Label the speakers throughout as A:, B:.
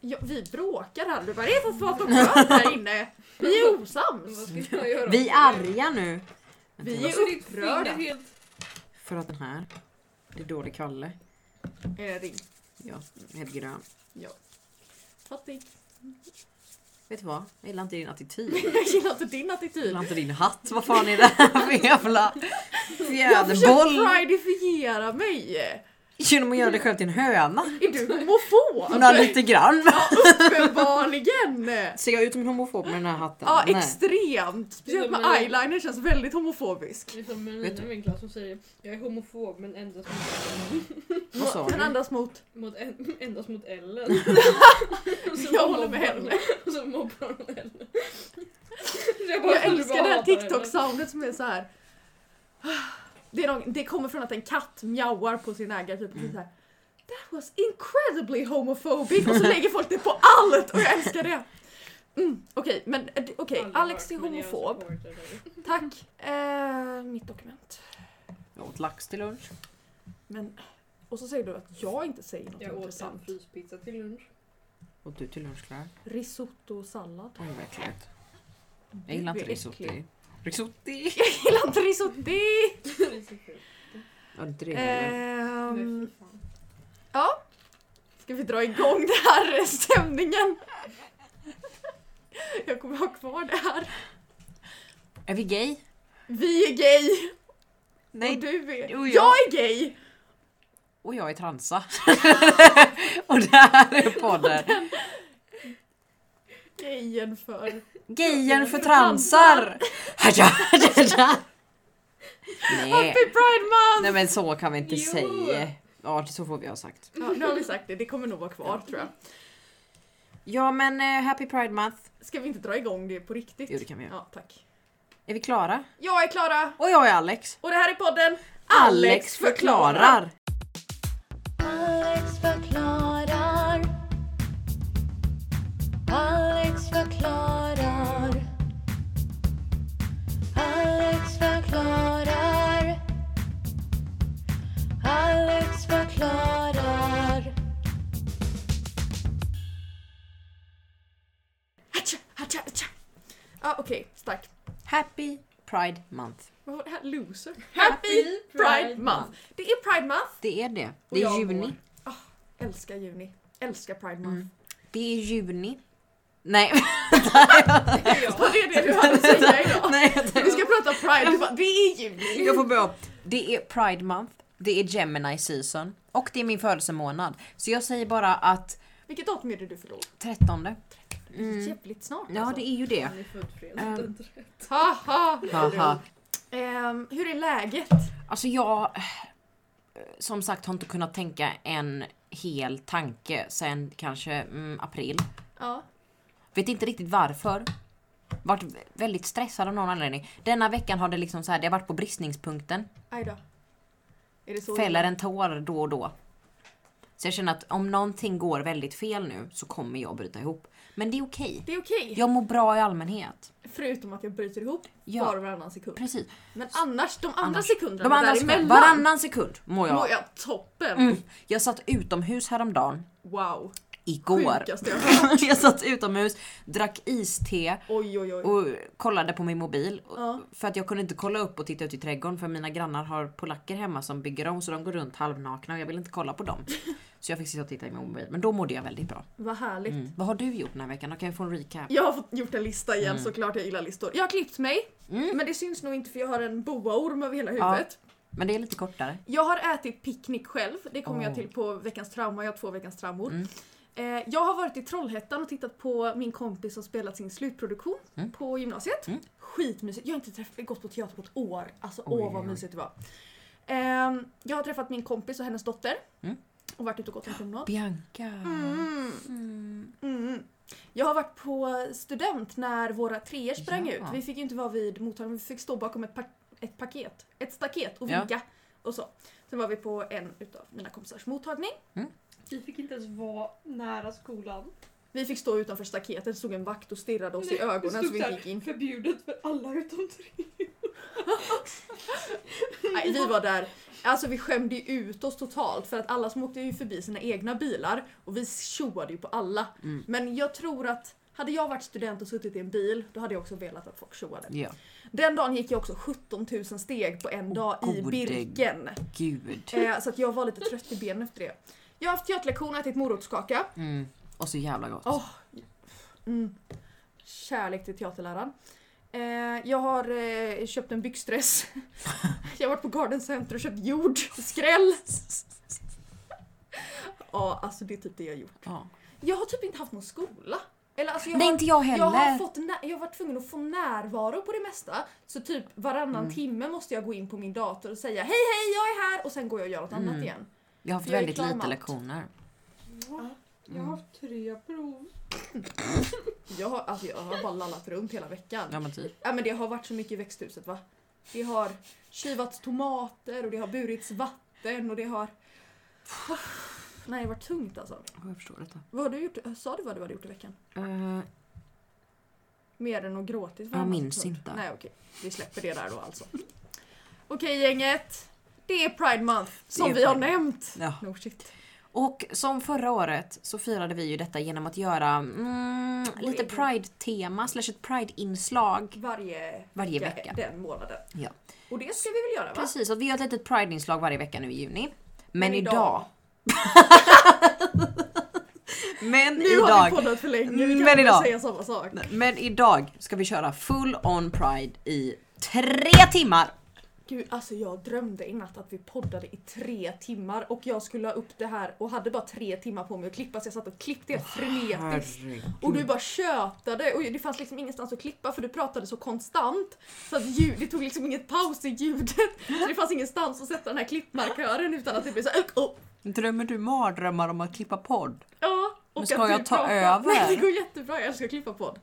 A: Ja, vi bråkar aldrig. Vad är det som svart och grönt här inne? Vi är osams.
B: Vad ska jag göra?
C: Vi är arga nu.
A: Vi
B: Alltså,
A: är
B: ditt finger
A: upprörda.
B: Helt...
C: För att den här. Det är dålig Kalle.
A: Är det Eh, ring?
C: Ja, helt grön.
A: Fattig.
C: Vet du vad? Jag gillar inte din attityd.
A: Jag gillar inte din
C: Jag
A: attityd.
C: gillar inte din hatt. Vad fan är det här för jävla
A: Jag försöker
C: fjäderboll? pridifiera
A: pridifiera mig.
C: Genom att göra dig själv till en höna.
A: Är du homofon?
C: Nå, lite grann.
A: Uppenbarligen!
C: Ser jag ut som en homofob med den här hatten?
A: Ja,
C: Nej.
A: extremt. Speciellt med
B: Men-
A: eyeliner känns väldigt homofobisk.
B: Det är som en
C: Vet du-
B: i liksom, min klass som säger jag är homofob men endast mot,
C: Vad sa
A: Den
C: du?
A: andas mot...
B: mot, en, endast mot Ellen. Och så
A: Jag håller med
B: mobbar hon-
A: henne.
B: Och så mobbar hon Ellen. Så bara-
A: Jag älskar det här
B: hatar
A: TikTok-soundet som är så här. Det, är någon, det kommer från att en katt mjauar på sin ägare typ och
B: Mm.
A: så här. That was incredibly homophobic och så lägger folk det på allt och jag älskar det. Mm, Okej, men eh, okej,
B: Aldrig
A: Alex
B: hört,
A: är
B: men jag
A: homofob.
B: supportar dig.
A: Tack. Eh, mitt dokument.
C: Jag åt lax till lunch.
A: Men, och så säger du att jag inte säger något
B: Jag åt en
A: intressant.
B: fryspizza till lunch.
C: Åt du till lunch Clara?
A: Risotto och sallad.
C: Oj vad äckligt. Jag gillar
A: Du
C: inte
A: är
C: risotti.
A: äcklig.
C: Risotti!
A: Jag gillar inte risotti!
B: Det är så kul.
C: Ja, inte det heller.
A: Ehm,
B: Nej, fy fan.
A: Ska vi dra igång den här stämningen? Jag kommer ha kvar det här.
C: Är vi gay?
A: Vi är gay!
C: Nej.
A: Och du är...
C: och jag-
A: jag är gay!
C: Och jag är transa. och det här är podden.
A: Gayen för...
C: Gayen för transar! Haja, haja, haja. Nej.
A: Happy Pride Month!
C: Nej men så kan vi inte
B: Jo.
C: säga. Ja så får vi ha sagt.
A: Ja, nu har vi sagt det, det kommer nog vara kvar tror jag.
C: Ja men eh, happy pride month.
A: Ska vi inte dra igång det på riktigt?
C: Jo det kan vi göra.
A: Ja, tack.
C: Är vi klara?
A: Jag är Klara
C: Och jag är Alex.
A: och det här är podden
C: Alex förklarar.
D: Alex förklarar. Alex förklarar. Alex förklarar. Alex förklarar.
A: Hatcha, hatcha, hatcha. Ja, okej, tack.
C: Happy pride month.
A: Vad var det här? Loser?
B: Happy
A: Happy Pride
B: Pride
A: Month! Det är Pride Month!
C: Det är det.
B: Och
C: Det är
B: jag
C: juni.
B: mår.
A: Älskar juni. Älskar Pride Month.
C: Mm. Det är juni. Nej.
A: Vad är det du hade att säga idag?
C: Nej.
A: Vi ska prata Pride, du bara, det är juni!
C: Jag får börja om. Det är Pride Month, det är Gemini season och det är min födelsemånad. Så jag säger bara att
A: Vilket datum är det du förlorar?
C: 13. Mm.
A: Jävligt snart alltså.
C: Ja, det är ju det.
B: Han är född fredag.
C: Ehm.
A: Haha!
C: Haha.
A: Ehm, hur är läget?
C: Alltså jag eh, som sagt har inte kunnat tänka en hel tanke sen kanske mm, april.
A: Ja.
C: Vet inte riktigt varför. Vart väldigt stressad av någon anledning. Denna veckan har det liksom så här, det har varit på bristningspunkten.
A: Aj då. Är det så?
C: fäller en tår då och då. Så jag känner att om någonting går väldigt fel nu så kommer jag bryta ihop. Men det är okej.
A: Det är okej.
C: Jag mår bra i allmänhet.
A: Förutom att jag bryter ihop
C: Ja.
A: var och varannan sekund.
C: Precis.
A: Men annars, de andra
C: Annars-
A: sekunderna
C: De andra sekund,
A: däremellan
C: varannan sekund mår jag.
A: mår jag toppen.
C: Mm. Jag satt utomhus häromdagen.
A: Wow.
C: Igår.
A: Sjukaste jag hört.
C: jag satt utomhus, drack iste
A: Oj oj oj.
C: och kollade på min mobil.
A: Ja.
C: För att jag kunde inte kolla upp och titta ut i trädgården för mina grannar har polacker hemma som bygger om så de går runt halvnakna och jag vill inte kolla på dem. Så jag fick sitta och titta i min mobil. Men då mådde jag väldigt bra.
A: Vad härligt.
C: Mm. Vad har du gjort den här veckan? Då kan jag få en recap.
A: Jag har fått gjort en lista
C: Mm.
A: igen såklart, jag gillar listor. Jag har klippt mig, men det syns nog inte för jag har en boaorm över hela
C: Ja.
A: huvudet.
C: Men det är lite kortare.
A: Jag har ätit picknick själv, det kommer jag
C: Oh.
A: till på veckans trauma, jag har två veckans traumor.
C: Mm.
A: Eh, jag har varit i Trollhättan och tittat på min kompis som spelat sin slutproduktion
C: Mm.
A: på gymnasiet.
C: Mm.
A: Skitmysigt, jag har inte träff- gått på teater på ett år. Alltså
C: Oj,
A: åh vad
C: oj, oj.
A: mysigt det var. Ehm, jag har träffat min kompis och hennes dotter
C: Mm.
A: och varit ute och gått en promenad.
C: Bianca.
A: Mm. Mm. Jag har varit på student när våra treor sprang
C: Ja.
A: ut. Vi fick ju inte vara vid mottagningen, vi fick stå bakom ett, pa- ett paket, ett staket och
C: Ja.
A: vinka. Och så. Sen var vi på en utav mina kompisars mottagning.
B: Vi fick inte ens vara nära skolan.
A: Vi fick stå utanför staketet, stod en vakt och stirrade oss i
B: Nej,
A: ögonen
B: det
A: så vi inte
B: stod
A: gick in.
B: Förbjudet för alla utom tre.
A: Nej, vi var där. Alltså vi skämde ju ut oss totalt för att alla som åkte ju förbi sina egna bilar och vi tjoade ju på alla.
C: Mm.
A: Men jag tror att hade jag varit student och suttit i en bil då hade jag också velat att folk tjoade.
C: Ja,
A: Den dagen gick jag också 17 000 steg på en dag i
C: gode
A: Birken.
C: gud.
A: Eh, så att jag var lite trött i benen efter det. Jag har haft köttlektion och ätit morotskaka.
C: Mm. Och så jävla gott.
A: Åh. Mm. Kärlek till teaterläraren. Eh, jag har eh, köpt en byggstress. jag har varit på Garden Center och köpt jord. Skräll! Ja, alltså det är typ det jag har gjort.
C: Ja.
A: Jag har typ inte haft någon skola. Eller alltså jag
C: Nej,
A: har,
C: inte jag
A: jag har
C: heller.
A: fått nä- jag har varit tvungen att få närvaro på det mesta. Så typ varannan
C: Mm.
A: timme måste jag gå in på min dator och säga hej hej jag är här och sen går jag och gör något annat
C: Mm.
A: igen.
C: Jag har haft
A: För jag är
C: väldigt
A: klar med
C: lite
A: allt.
C: lektioner.
B: Mm. Jag har haft tre prov.
A: Jag har, alltså jag har bara lallat runt hela veckan.
C: Ja men typ.
A: Ja men det har varit så mycket i växthuset va? Det har kivats tomater och det har burits vatten och det har... Nej det var tungt alltså.
C: Ja, Jag förstår detta.
A: Vad har du gjort? Sa du vad du hade gjort i veckan?
C: Eh,
A: Mer än att gråtit?
C: Jag minns inte.
A: Nej okej, vi släpper det där då alltså. Okej gänget. Det är Pride Month som
C: är
A: vi har
C: Pride
A: nämnt.
C: ja.
A: No shit.
C: Och som förra året så firade vi ju detta genom att göra mm, lite
A: egen-
C: pride-tema slash ett pride-inslag
A: Varje
C: varje
A: vecka,
C: vecka.
A: den månaden.
C: Ja.
A: Och det ska vi väl göra va?
C: Precis, att vi gör ett litet pride-inslag varje vecka nu i juni. Men,
A: Men
C: idag...
A: idag-
C: men
A: Nu har
C: idag... Mm,
A: vi poddat för länge,
C: Men
A: vi kan inte
C: idag.
A: säga samma sak.
C: Men idag ska vi köra full on pride i tre timmar!
A: Gud, alltså jag drömde i natt att vi poddade i tre timmar och jag skulle ha upp det här och hade bara tre timmar på mig att klippa så jag satt och klippte helt frenetiskt. Och du bara tjötade och det fanns liksom ingenstans att klippa för du pratade så konstant så att ljud, det tog liksom inget paus i ljudet. Så det fanns ingenstans att sätta den här klippmarkören utan att det blev så här, "Ugh, oh,
C: Drömmer du mardrömmar om att klippa podd?
A: ja. Och
C: ska
A: att du
C: jag ta
A: pratar-
C: över?
A: Nej det går jättebra, jag älskar att klippa podd.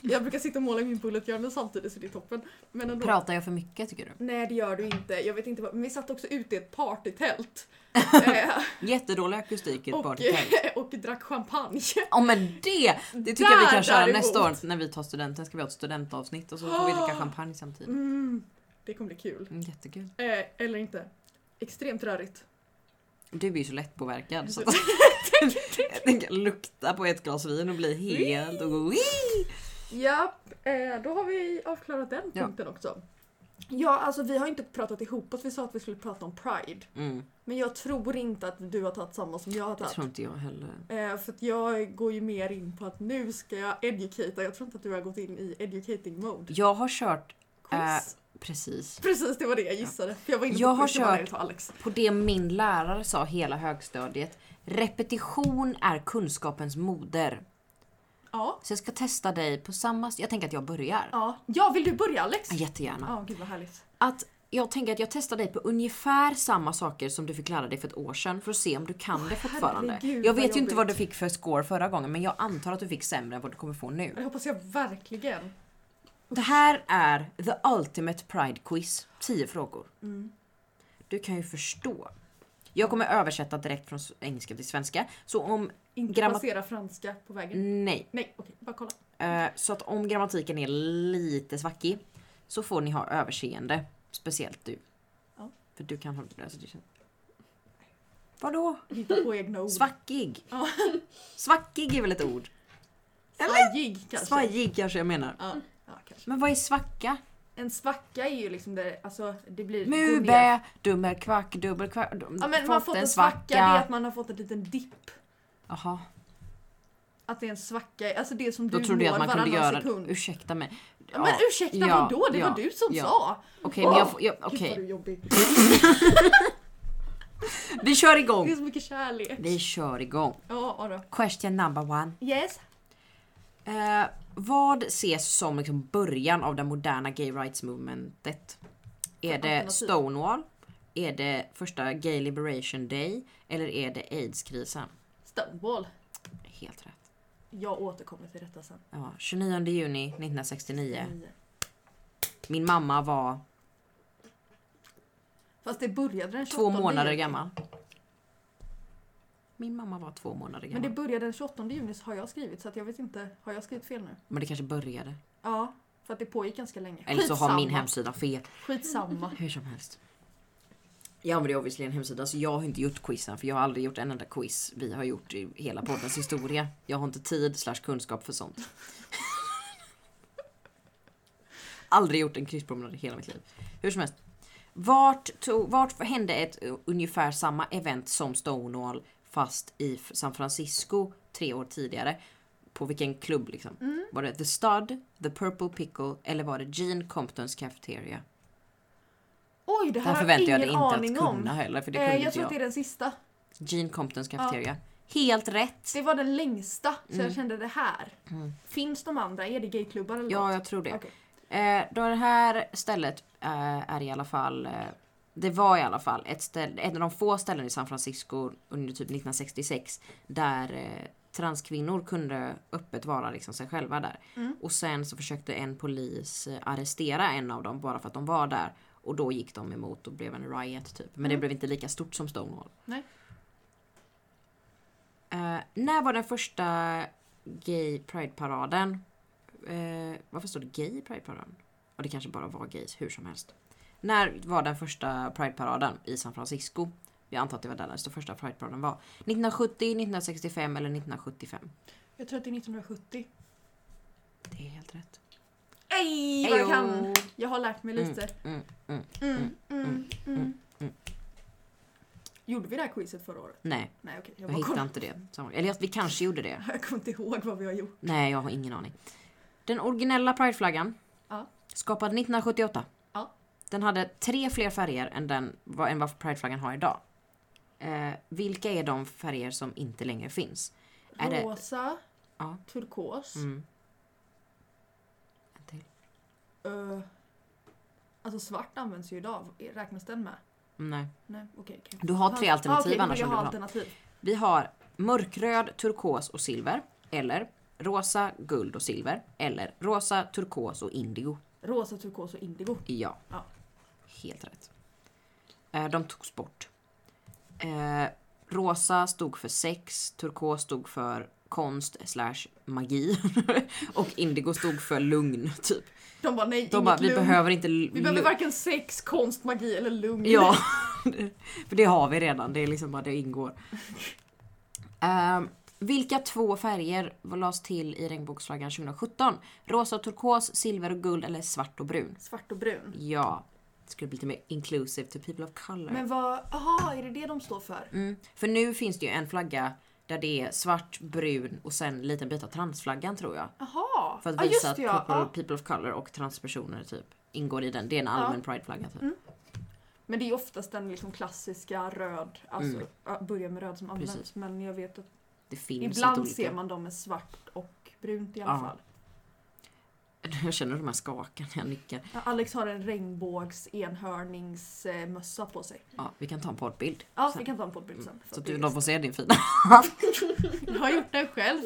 A: Jag brukar sitta och måla i min bullet journal samtidigt så det är toppen. Men ändå.
C: Pratar jag för mycket tycker du?
A: Nej det gör du inte. Jag vet inte vad, men vi satt också ute i ett partytält. eh,
C: Jättedålig akustik i ett
A: och,
C: partytält.
A: och drack champagne.
C: Ja men det! Det tycker
A: Där
C: jag vi kan köra
A: däremot.
C: nästa år när vi tar studenten ska vi ha ett studentavsnitt och så får vi dricka champagne samtidigt.
A: Mm, det kommer bli kul.
C: Mm, jättekul.
A: Eh, eller inte. Extremt rörigt.
C: Du är ju så lättpåverkad så att jag kan lukta på ett glas vin och bli helt och gå
A: Ja, eh, då har vi avklarat den
C: Ja.
A: punkten också. Ja, alltså vi har inte pratat ihop oss. Vi sa att vi skulle prata om Pride.
C: mm,
A: Men jag tror inte att du har tagit samma som jag har
C: Det
A: tagit.
C: tror inte jag heller.
A: Eh, för att jag går ju mer in på att nu ska jag educata. Jag tror inte att du har gått in i educating mode.
C: Jag har kört,
A: Quiz.
C: Eh, precis,
A: Precis, det var det jag gissade. För jag var inne på
C: Jag har
A: quiz, jag bara,
C: kört-
A: nej, det tar Alex.
C: på det min lärare sa hela högstadiet. Repetition är kunskapens moder.
A: Ja.
C: Så jag ska testa dig på samma... Jag tänker att jag börjar.
A: Ja. ja, vill du börja Alex?
C: Jättegärna.
A: Ja, gud vad härligt.
C: att jag tänker att jag testar dig på ungefär samma saker som du fick lära dig för ett år sedan för att se om du kan det fortfarande.
A: herregud,
C: jag
A: vad
C: vet ju inte vad du
A: jobbigt.
C: fick för score förra gången men jag antar att du fick sämre än vad du kommer få nu.
A: Det hoppas jag verkligen.
C: Det här är the ultimate pride quiz. 10 frågor. Du kan ju förstå. Jag kommer översätta direkt från s- engelska till svenska. Så om...
A: Inte
C: Grammat- Mm.
A: passera franska på vägen.
C: Nej.
A: Nej, okej, bara kolla.
C: Eh, Så att om grammatiken är lite svackig så får ni ha överseende. Speciellt du.
A: Ja.
C: För du kan ha... Alltså, det känns... Vadå?
A: Hitta på egna ord.
C: Svackig.
A: Ja.
C: Svackig är väl ett ord?
A: Svajig kanske.
C: Svajig kanske jag menar.
A: Ja. ja, kanske.
C: Men vad är svacka?
A: En svacka är ju liksom där, alltså det blir... går ner.
C: Mube, dummerkvack, dubbelkvack. dum-
A: Ja men man har fått en svacka, det är att man har fått en liten dipp.
C: Jaha,
A: Att det är en svacka, alltså det som
C: då
A: du
C: trodde jag
A: mår
C: att man kunde
A: varannan
C: göra...
A: sekund.
C: Ursäkta mig.
A: Ja, men ursäkta
C: ja,
A: vadå? Det
C: ja,
A: var du som
C: ja.
A: sa!
C: Okej, men jag
A: Åh,
C: får... Jag,
A: Gud vad
C: okej.
A: du är jobbig.
C: Vi kör
A: Det är
C: igång.
A: så mycket kärlek.
C: Vi kör igång.
A: Ja, ja då.
C: Question number one.
A: Yes.
C: Eh, vad ses som liksom början av det moderna gay rights movementet? Är det
A: Alternativ.
C: Stonewall? Är det första Gay Liberation Day? Eller är det AIDS-krisen?
A: Stonewall.
C: Helt rätt.
A: Jag återkommer till detta sen.
C: Ja, 29 juni 1969.
A: Nio.
C: Min mamma var
A: Fast det började den 28
C: två månader
A: juni.
C: gammal. Min mamma var två månader
A: Men
C: gammal.
A: det började den 28 juni så har jag skrivit så att jag vet inte, har jag skrivit fel nu?
C: Men det kanske började.
A: Ja. För att det pågick ganska länge.
C: Eller så har min
A: Skitsamma.
C: hemsida fel.
A: Skitsamma.
C: Hur som helst. Jag använder ju obviously en hemsida så jag har inte gjort quizen för jag har aldrig gjort en enda quiz vi har gjort i hela poddens historia. Jag har inte tid slash kunskap för sånt. aldrig gjort en krysspromenad i hela mitt liv. Hur som helst. Vart, tog, vart hände ett eh, ungefär samma event som Stonewall fast i F- San Francisco tre år tidigare? På vilken klubb liksom? Var det The Stud, The Purple Pickle eller var det Gene Comptons Cafeteria?
A: Oj, det
C: Det här
A: här har jag
C: förväntar jag dig
A: ingen
C: inte att
A: aning
C: kunna
A: om.
C: heller för det kunde
A: Eh, jag
C: inte
A: tror att
C: jag.
A: det är den sista.
C: Gene Comptons Cafeteria. Helt rätt!
A: Det var den längsta, så
C: Mm.
A: jag kände det här.
C: Mm.
A: Finns de andra? Är det gayklubbar eller
C: Ja,
A: något?
C: jag tror det.
A: Okej.
C: Eh, då det här stället eh, är i alla fall eh, det var i alla fall ett, ställe, ett av de få ställen i San Francisco under typ 1966 där eh, transkvinnor kunde öppet vara liksom sig själva där.
A: Mm.
C: Och sen så försökte en polis eh, arrestera en av dem bara för att de var där. Och då gick de emot och blev en riot typ. Men det
A: Mm.
C: blev inte lika stort som Stonewall.
A: Nej.
C: Eh, när var den första gay pride-paraden? Eh, varför står det gay pride-paraden? Och det kanske bara var gays, hur som helst. När var den första Pride-paraden i San Francisco? Jag antar att det var där den första Pride-paraden var. 1970, 1965 eller 1975?
A: Jag tror att det är 1970.
C: Det är helt rätt.
A: Ej, vad jag
C: Hejo!
A: kan! Jag har lärt mig lite.
C: Mm, mm.
A: Mm, mm,
C: mm,
A: mm.
C: mm.
A: Gjorde vi det här quizet förra året?
C: Nej,
A: Nej okej, jag
C: jag
A: bara
C: hittade
A: kollade.
C: inte det. Samma- Eller att vi kanske gjorde det.
A: Jag kommer inte ihåg vad vi har gjort.
C: Nej, jag har ingen aning. Den originella Pride-flaggan
A: Ja.
C: skapad 1978.
A: Ja.
C: Den hade tre fler färger än, den, vad, än vad Pride-flaggan har idag. Eh, vilka är de färger som inte längre finns? Är det-
A: Rosa,
C: Ja.
A: turkos,
C: Mm. En till.
A: eh, alltså svart används ju idag, räknas den med?
C: Nej.
A: Nej, okej. okej.
C: Du har tre alternativ
A: ah, okej, då
C: annars
A: vill jag
C: om du
A: ha
C: vill ha.
A: alternativ.
C: Vi har mörkröd, turkos och silver. Eller rosa, guld och silver. Eller rosa, turkos och indigo.
A: Rosa, turkos och indigo.
C: Ja.
A: Ja.
C: Helt rätt. Eh, De togs bort. Eh, Rosa stod för sex, turkos stod för konst slash magi och indigo stod för lugn typ.
A: De bara nej,
C: De
A: inget
C: bara, vi
A: lugn.
C: behöver inte lu-
A: vi behöver varken sex, konst, magi eller lugn.
C: Ja, för det har vi redan. Det är liksom bara det ingår. Ehm, vilka två färger lades till i regnbågsflaggan 2017? Rosa och turkos, silver och guld eller svart och brun?
A: Svart och brun.
C: Ja, det skulle bli lite mer inclusive to people of color.
A: Men vad, aha, är det det de står för?
C: Mm. För nu finns det ju en flagga där det är svart, brun och sen en liten bit av transflaggan tror jag.
A: Aha!
C: För att
A: Ja,
C: visa
A: just
C: att
A: det, ja.
C: people,
A: ja.
C: people of color och transpersoner typ ingår i den. Det är en allmän prideflagga typ.
A: Mm. Men det är oftast den liksom klassiska röd, alltså
C: Mm.
A: ja, börja med röd som används.
C: Precis.
A: Men jag vet att
C: Det finns lite
A: ibland
C: olika.
A: ser man dem med svart och brunt i alla
C: Ja.
A: fall.
C: Jag känner de här skakan när jag nickar.
A: Ja, Alex har en regnbågs enhörningsmössa på sig.
C: Ja, vi kan ta en poddbild.
A: Ja,
C: Sen.
A: vi kan ta en poddbild sen. för
C: Mm. Så att
A: att det
C: du,
A: är
C: de
A: just-
C: får se din fina.
A: Jag har gjort den själv.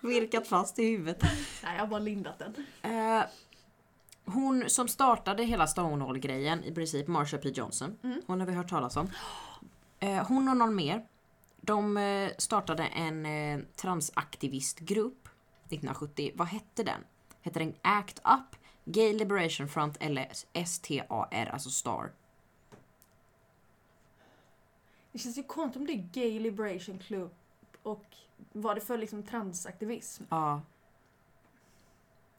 C: Virkat fast i huvudet.
A: Nej, jag har bara lindat den.
C: Eh, hon som startade hela Stonewall-grejen i princip, Marsha P Johnson.
A: Mm.
C: Hon har vi hört talas om. Eh, hon och någon mer. De eh, startade en eh, transaktivistgrupp 1970. Vad hette den? Hette den ACT UP, Gay Liberation Front eller STAR, alltså STAR?
A: Det känns ju konstigt om det är Gay Liberation Club och var det för liksom transaktivism?
C: Ja,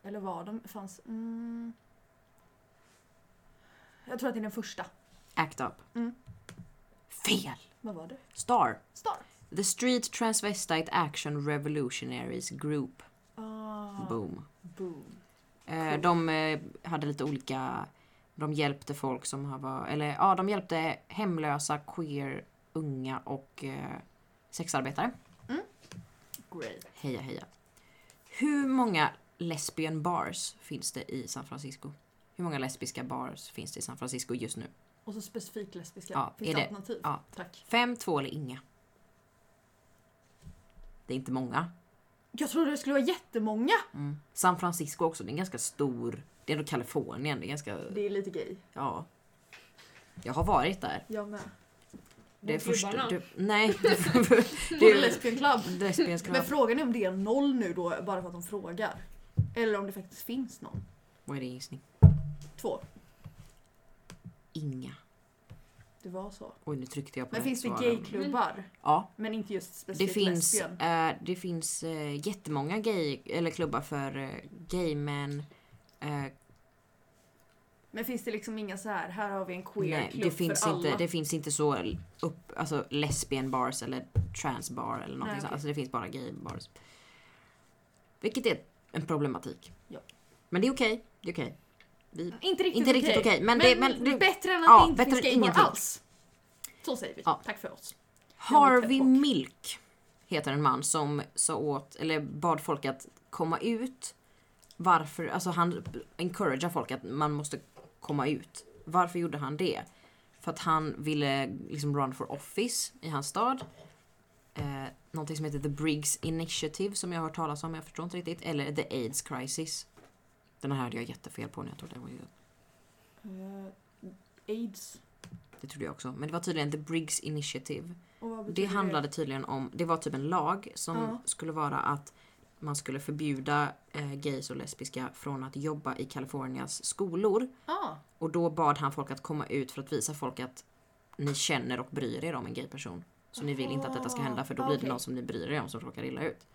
A: Eller var de? Fanns... Mm. Jag tror att det är den första.
C: ACT UP.
A: Mm.
C: Fel!
A: Vad var det?
C: STAR.
A: Star.
C: The Street Transvestite Action Revolutionaries Group.
A: Ah,
C: Boom.
A: boom.
C: Eh, De eh, hade lite olika, de hjälpte folk som har var, eller ja de hjälpte hemlösa, queer, unga och eh, sexarbetare.
A: Great.
C: Heja heja. Hur många lesbian bars finns det i San Francisco? Hur många lesbiska bars finns det i San Francisco just nu?
A: Och så specifikt lesbiska.
C: Ja,
A: Finns
C: är
A: det,
C: det-
A: alternativ?
C: ja.
A: Tack.
C: Fem, två eller inga? Det är inte många.
A: Jag trodde det skulle vara jättemånga.
C: Mm. San Francisco också, det är en ganska stor, det är ändå Kalifornien, det är ganska,
A: Det är lite gay.
C: ja. Jag har varit där.
A: Jag med.
C: Det är
B: Mot
C: första...
B: gubbarna.
C: Du, nej. det är-
A: Både lesbian club.
C: Lesbian ska
A: Men frågan är om det är noll nu då bara för att de frågar. Eller om det faktiskt finns någon.
C: Vad är din gissning?
A: Två.
C: Inga.
A: Det var så.
C: Oj, nu tryckte jag på
A: Men
C: rätt
A: finns det
C: svar.
A: gayklubbar?
C: Ja,
A: Men inte just
C: det
A: specifikt
C: finns,
A: lesbian?
C: eh, det finns eh, jättemånga gay, eller klubbar för eh, gaymän. Eh,
A: Men finns det liksom inga så här, här har vi en
C: nej,
A: queerklubb
C: det, finns
A: för
C: inte,
A: alla?
C: det finns inte så upp, alltså lesbian bars eller trans bar eller någonting
A: Nej,
C: sånt.
A: okej.
C: Alltså det finns bara gay bars. Vilket är en problematik.
A: Ja.
C: Men det är okej. Det är okej. Vi,
A: Inte riktigt,
C: inte riktigt okej. men, det, men det,
A: bättre än att
C: ja,
A: det inte
C: bättre
A: finns
C: än
A: gaybar
C: ingenting.
A: alls. Så säger vi.
C: Ja.
A: Tack för oss.
C: Harvey
A: Träffbok.
C: Milk heter en man som sa åt, eller bad folk att komma ut. Varför, alltså han encouragear folk att man måste komma ut. Varför gjorde han det? För att han ville liksom run for office i hans stad. Eh, någonting som heter The Briggs Initiative som jag har hört talas om, jag förstår inte riktigt. Eller The AIDS Crisis. Den här hade jag jättefel på när jag trodde det var
A: Eh, Aids.
C: Det trodde jag också. Men det var tydligen The Briggs Initiative.
A: Och vad
C: Det
A: betyder
C: handlade tydligen om, det var typ en lag som
A: Ja.
C: skulle vara att man skulle förbjuda eh, gays och lesbiska från att jobba i Kalifornias skolor.
A: Ah,
C: Och då bad han folk att komma ut för att visa folk att ni känner och bryr er om en gay person. Så ni vill inte att detta ska hända för då
A: Aha,
C: blir
A: okej.
C: det någon som ni bryr er om som råkar illa ut.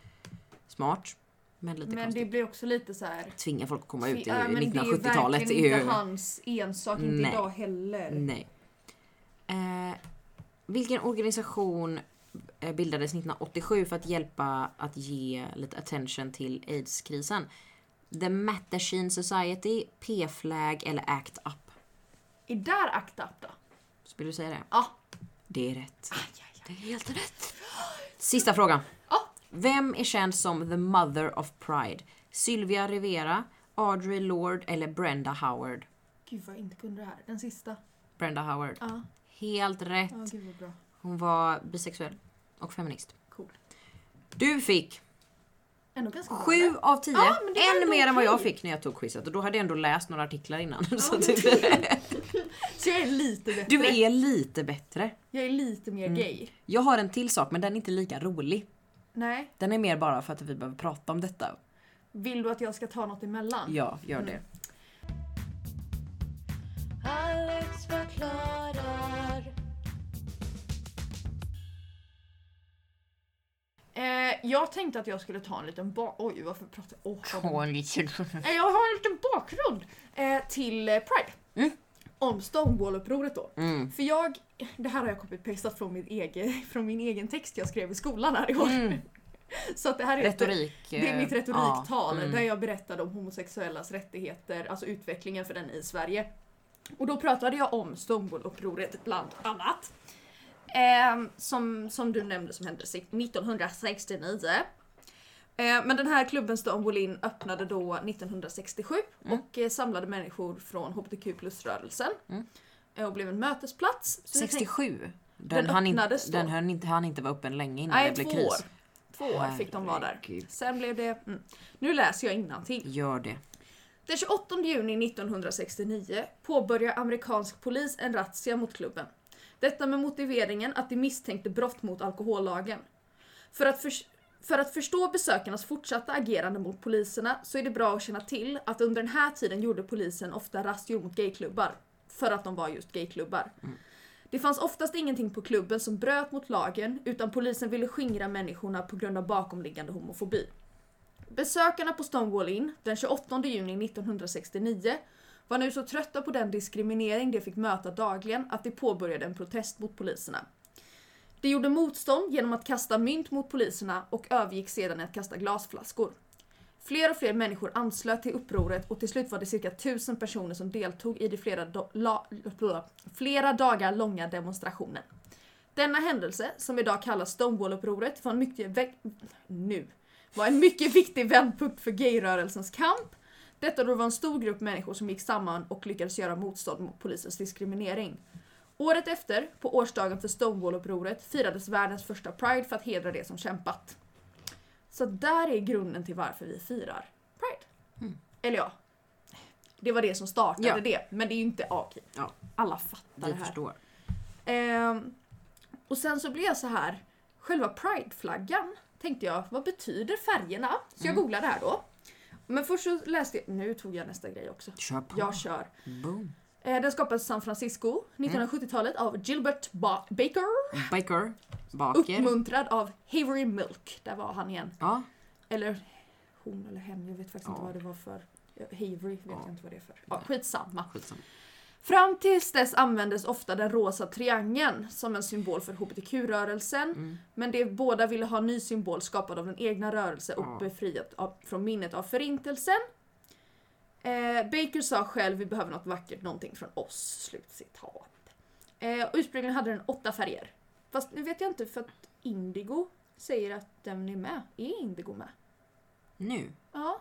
C: Smart, men lite
A: men det
C: konstigt.
A: blir också lite så här.
C: Tvinga folk att komma ut i
A: Ja, men det är ju
C: 1970-talet.
A: verkligen
C: är ju-
A: inte hans ensak, inte
C: Nej.
A: idag heller.
C: Nej. Eh, vilken organisation eh, bildades 1987 för att hjälpa att ge lite attention till AIDS-krisen? The Mattachine Society, P-flag eller Act Up?
A: Är där akta up då?
C: Så vill du säga det?
A: Ja.
C: Det är rätt.
A: Det är helt rätt.
C: Sista frågan.
A: Ja.
C: Vem är känd som the mother of pride? Sylvia Rivera, Audrey Lorde eller Brenda Howard?
A: Gud vad jag inte kunde det här. Den sista.
C: Brenda Howard.
A: Ja,
C: Helt rätt.
A: ja gud vad bra.
C: Hon var bisexuell och feminist.
A: Cool.
C: Du fick
A: Ändå ganska bra.
C: Sju av tio.
A: Ja, men det var
C: en
A: ändå
C: mer än vad
A: okej.
C: jag fick när jag tog quizet. Och då hade jag ändå läst några artiklar innan. så
A: men
C: typ,
A: Så jag är lite bättre.
C: du är Mm. lite bättre.
A: Jag är lite mer gay.
C: Jag har en till sak men den är inte lika rolig.
A: Nej.
C: Den är mer bara för att vi behöver prata om detta.
A: Vill du att jag ska ta något emellan?
C: Ja, gör det.
A: Mm.
D: Alex förklarar.
A: Eh, jag tänkte att jag skulle ta en liten bak... Oj, varför pratar jag... Åh, vad-
C: Tåligt.
A: Eh, Jag har en liten bakgrund eh, till eh, Pride.
C: Mm.
A: Om Stonewall-upproret då.
C: Mm.
A: För jag, det här har jag copy-pastat från min, egen, från min egen text jag skrev i skolan här i år.
C: Mm.
A: Så att det här är ett-
C: Retorik.
A: Det är
C: eh,
A: mitt retoriktal
C: ja, mm.
A: där jag berättade om homosexuellas rättigheter, alltså utvecklingen för den i Sverige. Och då pratade jag om Stonewall-upproret bland annat. Ehm, som, som du nämnde som hände se- 1969. Ehm, men den här klubben Stonewall Inn öppnade då 1967 och eh, samlade människor från HBTQ plus-rörelsen.
C: Mm.
A: Eh, och blev en mötesplats. Så jag tänkte-
C: 67. Den,
A: Den
C: hann inte,
A: öppnades då.
C: den hann inte, hann inte vara öppen länge innan
A: Nej,
C: det blev
A: två
C: kris.
A: år. Två år fick de vara där.
C: Herregud.
A: Sen blev det... Mm. Nu läser jag innantill.
C: Gör det.
A: Den 28 juni 1969 påbörjar amerikansk polis en razzia mot klubben. Detta med motiveringen att de misstänkte brott mot alkohollagen. För att, förs- för att förstå besökarnas fortsatta agerande mot poliserna så är det bra att känna till att under den här tiden gjorde polisen ofta razzior mot gayklubbar. För att de var just gayklubbar. Det fanns oftast ingenting på klubben som bröt mot lagen utan polisen ville skingra människorna på grund av bakomliggande homofobi. Besökarna på Stonewall Inn den 28 juni 1969 var nu så trötta på den diskriminering de fick möta dagligen att de påbörjade en protest mot poliserna. De gjorde motstånd genom att kasta mynt mot poliserna och övergick sedan i att kasta glasflaskor. Fler och fler människor anslöt till upproret och till slut var det cirka 1000 personer som deltog i de flera, do- la- flera dagar långa demonstrationen. Denna händelse, som idag kallas Stonewall-upproret, var en mycket, vä- nu var en mycket viktig vändpunkt för gayrörelsens kamp. Detta då det var en stor grupp människor som gick samman och lyckades göra motstånd mot polisens diskriminering. Året efter, på årsdagen för Stonewall-upproret, firades världens första Pride för att hedra de som kämpat. Så där är grunden till varför vi firar Pride.
C: Mm.
A: Eller ja, det var det som startade
C: Ja.
A: det. Men det är ju inte, ja, okej.
C: Ja.
A: Alla fattar
C: Vi
A: det här.
C: förstår.
A: Ehm, och sen så blev jag så här,
C: Mm.
A: själva prideflaggan tänkte jag, vad betyder färgerna? Så jag googlade här då. Men först så läste jag... Nu tog jag nästa grej också.
C: Kör på.
A: Jag kör.
C: Boom.
A: Eh, Den skapades i San
C: Mm.
A: Francisco 1970-talet av Gilbert ba- Baker.
C: Baker. Baker.
A: Uppmuntrad av Havery Milk. Där var han igen.
C: Ja.
A: Eller hon eller hen, jag vet faktiskt inte
C: Ja.
A: vad det var för. Havery vet
C: Ja.
A: jag inte vad det är för. Ja,
C: Nej.
A: skitsamma.
C: Skitsamma.
A: Fram tills dess användes ofta den rosa triangeln som en symbol för hbtq-rörelsen.
C: Mm.
A: Men de båda ville ha en ny symbol skapad av den egna rörelsen och
C: Ja.
A: befriat av, från minnet av förintelsen. Eh, Baker sa själv vi behöver något vackert, någonting från oss. Slutcitat. Eh, och ursprungligen hade den åtta färger. Fast nu vet jag inte för att Indigo säger att den är med. Är Indigo med?
C: Nu.
A: Ja,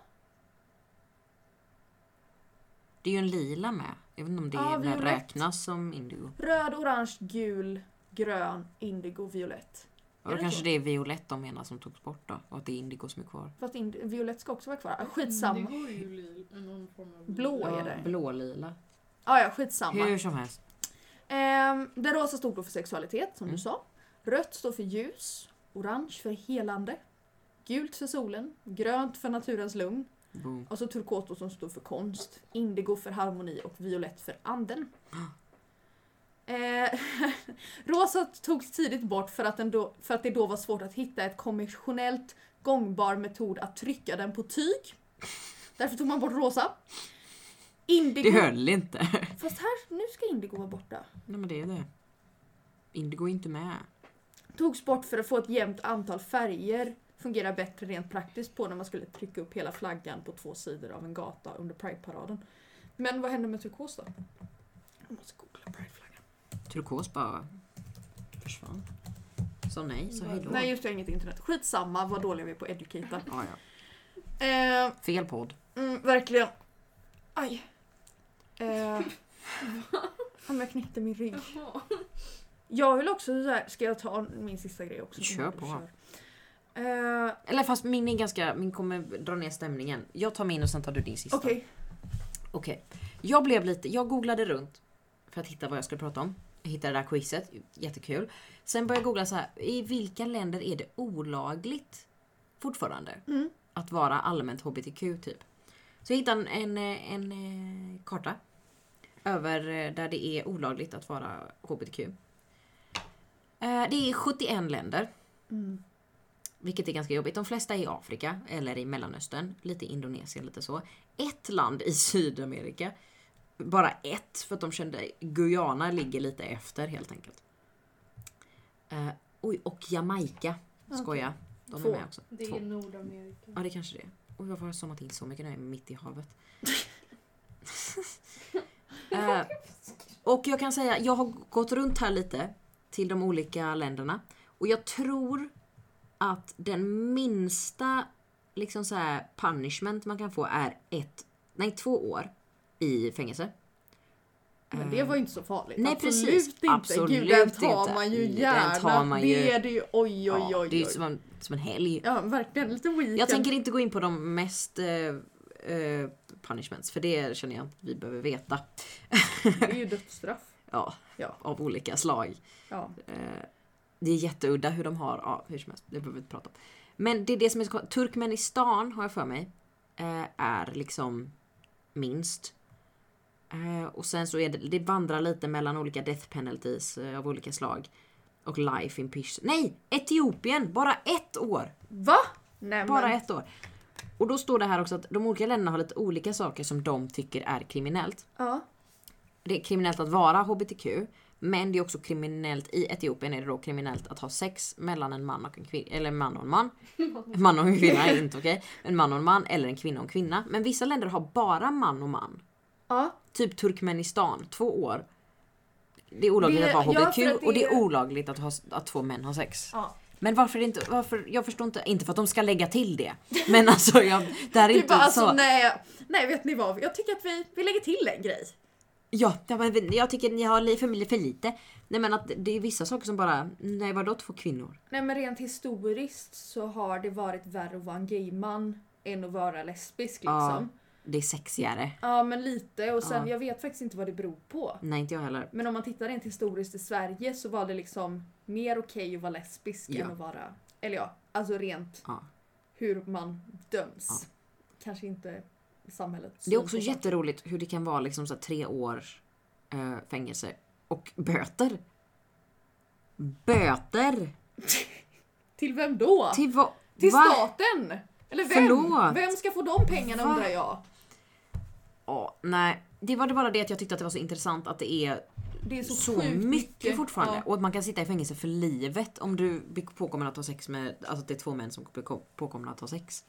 C: Det är ju en lila med. Jag vet inte om det
A: Ja,
C: är- den
A: violett.
C: räknas som indigo.
A: röd, orange, gul, grön, indigo, violett.
C: Ja,
A: Är
C: då
A: det
C: kanske
A: så?
C: det är violett de menar som togs bort då. Och att det är indigo som är kvar.
A: Fast ind- violett ska också vara kvar. Ah, Skitsamma.
B: Indigo är Mm, ju li- någon form av...
A: Blå är det.
C: Blålila.
A: Ah, ja, skitsamma.
C: Hur som helst.
A: Ehm, det rosa stod då för sexualitet, som
C: Mm.
A: du sa. Rött står för ljus. Orange för helande. Gult för solen. Grönt för naturens lugn.
C: Boom.
A: Och så turkos då som stod för konst. Indigo för harmoni och violett för anden. Eh, rosa togs tidigt bort för att, den då, för att det då var svårt att hitta ett konventionellt gångbar metod att trycka den på tyg. Därför tog man bort rosa.
C: Det
A: Indigo...
C: höll inte.
A: Fast här, nu ska indigo vara borta.
C: Nej men det är det. Indigo är inte med.
A: togs bort för att få ett jämnt antal färger fungerar bättre rent praktiskt på när man skulle trycka upp hela flaggan på två sidor av en gata under Pride-paraden. Men vad hände med turkos då? Jag måste googla Pride-flaggan.
C: Turkos bara försvann. Så nej, så hejdå.
A: Nej just det, jag har inget internet. Skitsamma vad dåliga vi är på att educata.
C: Ja, ja.
A: Eh,
C: Fel podd.
A: mm, verkligen. Aj. Eh, om jag knäckte min rygg.
B: Jaha.
A: Jag vill också så här, ska jag ta min sista grej också?
C: Kör på.
A: Kör. Eh,
C: Eller fast min är ganska, min kommer dra ner stämningen. Jag tar min och sen tar du din sista.
A: Okej.
C: Okej. Jag blev lite, jag googlade runt för att hitta vad jag skulle prata om. Jag hittade det där quizet, jättekul. Sen började jag googla så här, i vilka länder är det olagligt fortfarande
A: Mm.
C: att vara allmänt hbtq typ? Så jag hittade en, en, eh, en eh, karta över eh, där det är olagligt att vara hbtq. Eh, Det är 71 länder.
A: Mm.
C: Vilket är ganska jobbigt. De flesta är i Afrika eller i Mellanöstern. Lite i Indonesien, lite så. Ett land i Sydamerika. Bara ett, för att de kände Guyana ligger lite efter helt enkelt. Eh, oj, och Jamaica. Skoja. De
A: Två.
C: är med också.
B: Det
C: Två.
B: är Nordamerika.
C: Ja, det kanske det är. Oj, varför har jag zoomat in så mycket när jag är mitt i havet? Eh, och jag kan säga, jag har gått runt här lite till de olika länderna och jag tror att den minsta liksom så här punishment man kan få är ett, nej två år i fängelse.
A: Men det var ju inte så farligt.
C: Mm. Nej,
A: absolut
C: precis.
A: inte. Gud,
C: Absolut
A: den tar
C: inte.
A: man ju
C: Den
A: gärna.
C: tar man ju.
A: Det är det ju. Oj, oj,
C: Eh, Ja,
A: oj.
C: det är ju
A: oj.
C: som en, som en helg.
A: Ja, verkligen. Lite weekend.
C: Jag tänker inte gå in på de mest eh, eh, punishments för det känner jag att vi behöver veta.
A: Det är ju dödsstraff.
C: Ja,
A: Ja.
C: av olika slag.
A: Ja.
C: Eh, det är jätteudda hur de har, ja hur som helst, det behöver vi inte prata om. Men det är det som är så kon- Turkmenistan har jag för mig eh, är liksom minst. Eh, och sen så är det, det vandrar lite mellan olika death penalties eh, av olika slag. Och life imprisonment. Nej! Etiopien! Bara ett år!
A: Va? Nej,
C: Bara
A: men,
C: ett år. Och då står det här också att de olika länderna har lite olika saker som de tycker är kriminellt.
A: ja.
C: Det är kriminellt att vara hbtq, men det är också kriminellt, i Etiopien är det då kriminellt att ha sex mellan en man och en kvinna, eller en man och en man. En man och en kvinna är inte okej. En man och en man eller en kvinna och en kvinna. Men vissa länder har bara man och man.
A: ja.
C: Typ Turkmenistan, två år. Det är olagligt
A: Det-
C: att vara
A: ja,
C: hbtq
A: för att det
C: och det är
A: är-
C: olagligt att, ha, att två män har sex.
A: ja.
C: Men varför inte, varför, jag förstår inte, inte för att de ska lägga till det. Men alltså jag, det här är
A: Det är
C: inte
A: bara alltså
C: så.
A: nej. Nej, vet ni vad? Jag tycker att vi, vi lägger till en grej.
C: Ja, ja, men jag tycker ni har li- för, li- för lite. Nej men att det är vissa saker som bara, nej vadå två kvinnor?
A: Nej men rent historiskt så har det varit värre att vara en gayman än att vara lesbisk liksom. Ja,
C: Det är sexigare.
A: men lite och sen
C: Ja.
A: jag vet faktiskt inte vad det beror på.
C: Nej inte jag heller.
A: Men om man tittar rent historiskt i Sverige så var det liksom mer okej att vara lesbisk
C: Ja.
A: än att vara... Eller ja, alltså rent
C: Ja.
A: hur man döms. kanske inte samhället.
C: Det är också jätteroligt hur det kan vara liksom så här tre år eh, fängelse och böter. Böter!
A: Till vem då?
C: Till vad?
A: Till
C: va?
A: staten! Eller vem?
C: Förlåt.
A: Vem ska få de pengarna
C: Va?
A: undrar jag?
C: Ja, nej. Det var det bara det att jag tyckte att det var så intressant att det är
A: Det är så,
C: så,
A: sjukt
C: mycket, fortfarande.
A: Ja.
C: Och att man kan sitta i fängelse för livet om du blir påkommen att ha sex med, alltså att det är två män som blir ko- påkomna att ha sex.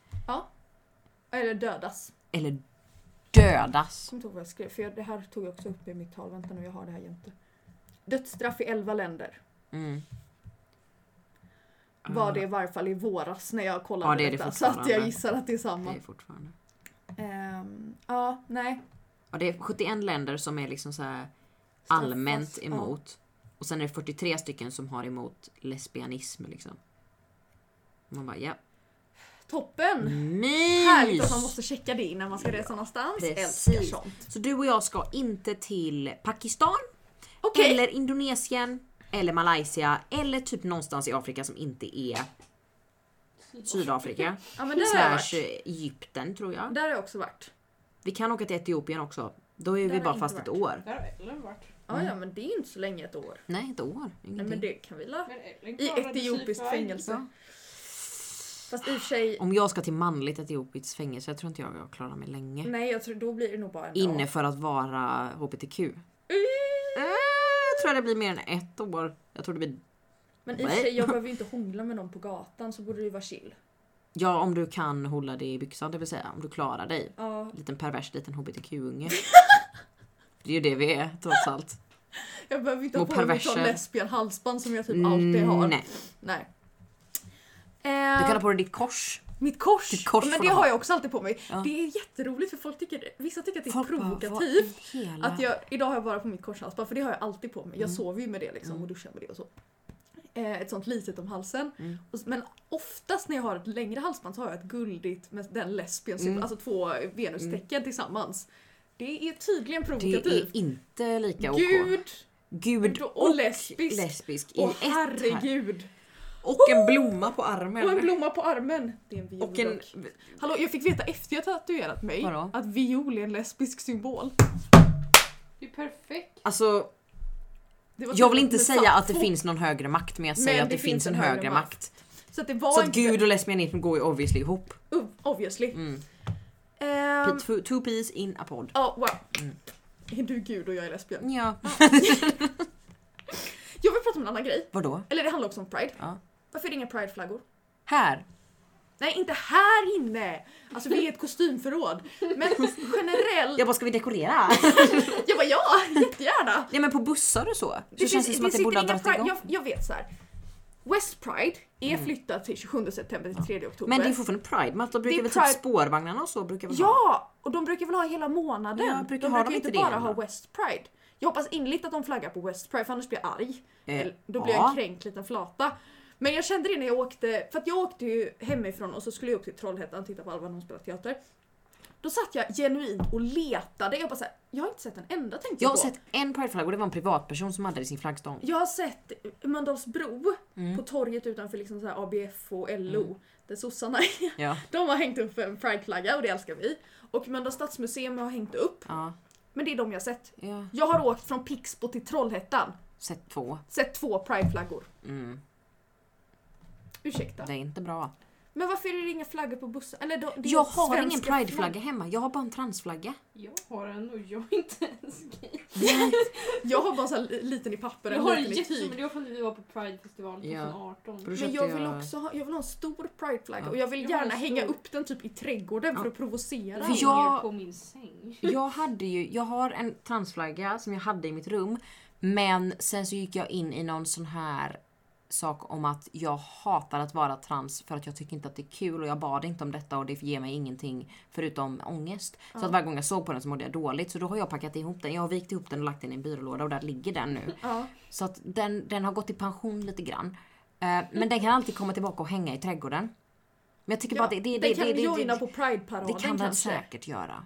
A: Eller dödas.
C: Eller dödas.
A: Kommer inte ihåg vad jag skrev, för jag, det här tog jag också upp i mitt tal. Vänta nu, jag har det här jämte. Dödsstraff i 11 länder.
C: Mm. Ah,
A: Var det i varje fall i våras när jag kollade
C: Ja, det är det
A: detta. Så att jag
C: fortfarande.
A: gissar att det är
C: Det
A: samma.
C: är fortfarande.
A: Ehm, ja, nej.
C: Ja, det är 71 länder som är liksom så här
A: Straffas,
C: allmänt
A: ja.
C: emot. Och sen är det 43 stycken som har emot lesbianism liksom. Man bara ja.
A: Toppen! Mm. Härligt att man
C: Mys!
A: måste checka det innan man ska resa någonstans.
C: precis.
A: Älskar sånt.
C: Så du och jag ska inte till Pakistan
A: Okej,
C: eller Indonesien eller Malaysia eller typ någonstans i Afrika som inte är Sydafrika.
A: ja, men där har jag
C: Slash
A: varit.
C: eh, Egypten tror jag.
A: Där har jag också varit.
C: Vi kan åka till Etiopien också. Då är
A: Där
C: vi
A: har
C: bara
A: jag
C: fast
A: inte
C: ett år.
B: Där har Ellen varit.
A: Ja, ja, men det är inte så länge ett år.
C: Mm. Nej, ett år.
A: Nej, men
C: Ingenting.
A: det kan vi la.
B: Men typ Ellen
A: I
B: klarade sig
A: etiopiskt
B: för-
A: fängelse.
C: Ja.
A: Fast i och för sig,
C: Om jag ska till manligt etiopiskt fängelse, jag tror inte jag klarar mig länge.
A: nej jag tror då blir det nog bara en
C: Inne
A: dag.
C: för att vara HBTQ. Eh, Jag tror det blir mer än ett år. Jag tror det blir...
A: Men i och för sig, jag behöver ju inte hångla med någon på gatan så borde det ju vara chill.
C: Ja, om du kan hålla dig i byxan, det vill säga om du klarar dig.
A: Ja,
C: Liten pervers liten HBTQ-unge. det är ju det vi är trots allt.
A: jag behöver inte ha
C: Och
A: på mig ett sånt
C: perverser.
A: lesbian halsband som jag typ alltid har.
C: Mm, Nej,
A: Nej.
C: du
A: Eh,
C: kan ha på dig ditt kors.
A: Mitt kors!
C: Ditt kors
A: ja, men
C: får
A: det
C: du
A: har
C: ha.
A: jag också alltid på mig.
C: Ja.
A: Det är jätteroligt för folk tycker, vissa tycker att det är
C: Folk bara, vad i
A: provokativt.
C: hela-
A: Att jag, idag har jag bara på mitt korshalsband för det har jag alltid på mig. Jag
C: Mm.
A: sover ju med det liksom
C: Mm.
A: och duschar med det och så. Eh, ett sånt litet om halsen.
C: Mm.
A: Och s- Men oftast när jag har ett längre halsband så har jag ett guldigt med den lesbien, symbol,
C: Mm.
A: alltså två venustecken tillsammans. Det är tydligen
C: Det
A: provokativt.
C: är inte lika OK. Gud,
A: Gud
C: och,
A: och lesbisk.
C: lesbisk i
A: och
C: ett här.
A: herregud!
C: Och en blomma på armen.
A: Och en blomma på armen! Det är en viol
C: Och en...
A: dock. Hallå, jag fick veta efter jag tatuerat mig
C: Vadå?
A: att viol är en lesbisk symbol.
B: Det är perfekt.
C: Alltså,
A: Det var
C: jag vill
A: typ
C: inte
A: med
C: säga att det
A: saffo.
C: finns någon högre makt men jag säger
A: Men
C: att det, finns en högre makt.
A: Så att det var
C: Så att
A: inte...
C: gud och lesbianism går ju obviously ihop.
A: Oh, Obviously.
C: Mm.
A: Ehm,
C: two, two peas in a pod.
A: Ja, wow.
C: Mm.
A: Är du gud och jag är lesbian?
C: Ja.
A: Jag vill prata om en annan grej.
C: Vadå?
A: Eller det handlar också om pride.
C: Ja.
A: Varför är det inga prideflaggor?
C: Här.
A: Nej, inte här inne! Alltså vi är ett kostymförråd. Men generellt,
C: Jag bara, ska vi dekorera?
A: jag bara ja, jättegärna!
C: ja men på bussar och så. Så
A: Det
C: det känns det som att det
A: sitter
C: borde ha
A: inga
C: dragit
A: pride-
C: igång. Mm.
A: jag, jag vet så här. West Pride är flyttat till 27 september till 3 oktober.
C: Men det är fortfarande pride month. Då
A: Det är
C: brukar väl
A: Pride-
C: typ spårvagnarna och så brukar väl ha.
A: Ja! Och de brukar väl ha hela månaden?
C: Ja,
A: de brukar
C: brukar ha
A: ju
C: de
A: inte
C: inte det
A: bara ha
C: ändå?
A: West Pride. Jag hoppas inligt att de flaggar på West Pride för annars blir jag arg.
C: Eh,
A: Eller, då blir jag
C: ja.
A: en kränkt liten flata. Men jag kände det när jag åkte, för att jag åkte ju hemifrån och så skulle jag upp till Trollhättan och titta på Alva när hon spelade teater. Då satt jag genuint och letade. Jag bara såhär, jag har inte sett en enda tänkte
C: Jag har
A: på.
C: sett en prideflagga och det var en privatperson som hade det i sin flaggstång.
A: Jag har sett Mölndalsbro
C: Mm.
A: på torget utanför liksom så här ABF och LO. Där sossarna är.
C: Ja.
A: De har hängt upp en prideflagga och det älskar vi. Och Mölndals stadsmuseum har hängt upp.
C: Ja.
A: Men det är de jag sett.
C: ja.
A: Jag har åkt från Pixbo till Trollhättan.
C: Sett två.
A: Sett två prideflaggor.
C: Mm.
A: Ursäkta.
C: Det är inte bra.
A: Men varför är det inga flaggor på bussen? Eller då, det är
C: Jag har
A: svenska
C: ingen prideflagga hemma. Jag har bara en transflagga.
B: Jag har en och jag är inte ens gay.
A: flaggor. Jag har bara så här li- liten i papper
B: Jag
A: och
B: har
A: en
B: en
A: liten i
B: jättestor,
A: tyg.
B: men det var för att vi var på Pride-festivalen
C: Ja.
B: 2018.
C: För då
A: Men
C: köpte
A: jag vill också ha, jag vill ha en stor prideflagga
C: Ja.
A: och jag vill
B: Jag har en
A: gärna hänga
B: stor.
A: upp den typ i trädgården för
C: Ja.
A: att provocera.
C: För
B: För
C: jag-
B: jag... på min säng.
C: Jag hade ju, jag har en transflagga som jag hade i mitt rum. Men sen så gick jag in i någon sån här sak om att jag hatar att vara trans för att jag tycker inte att det är kul och jag bad inte om detta och det ger mig ingenting förutom ångest. Så att varje gång jag såg på den så mådde jag dåligt. Så då har jag packat ihop den. Jag har vikt ihop den och lagt den i en byrålåda och där ligger den nu.
A: Ja.
C: Så att den, den har gått i pension lite grann. Eh, men den kan alltid komma tillbaka och hänga i trädgården. Men jag tycker bara
A: Ja,
C: att det, det,
A: den
C: det,
A: kan
C: det, det,
A: joina
C: det,
A: på prideparaden
C: det kan den
A: kanske.
C: säkert göra.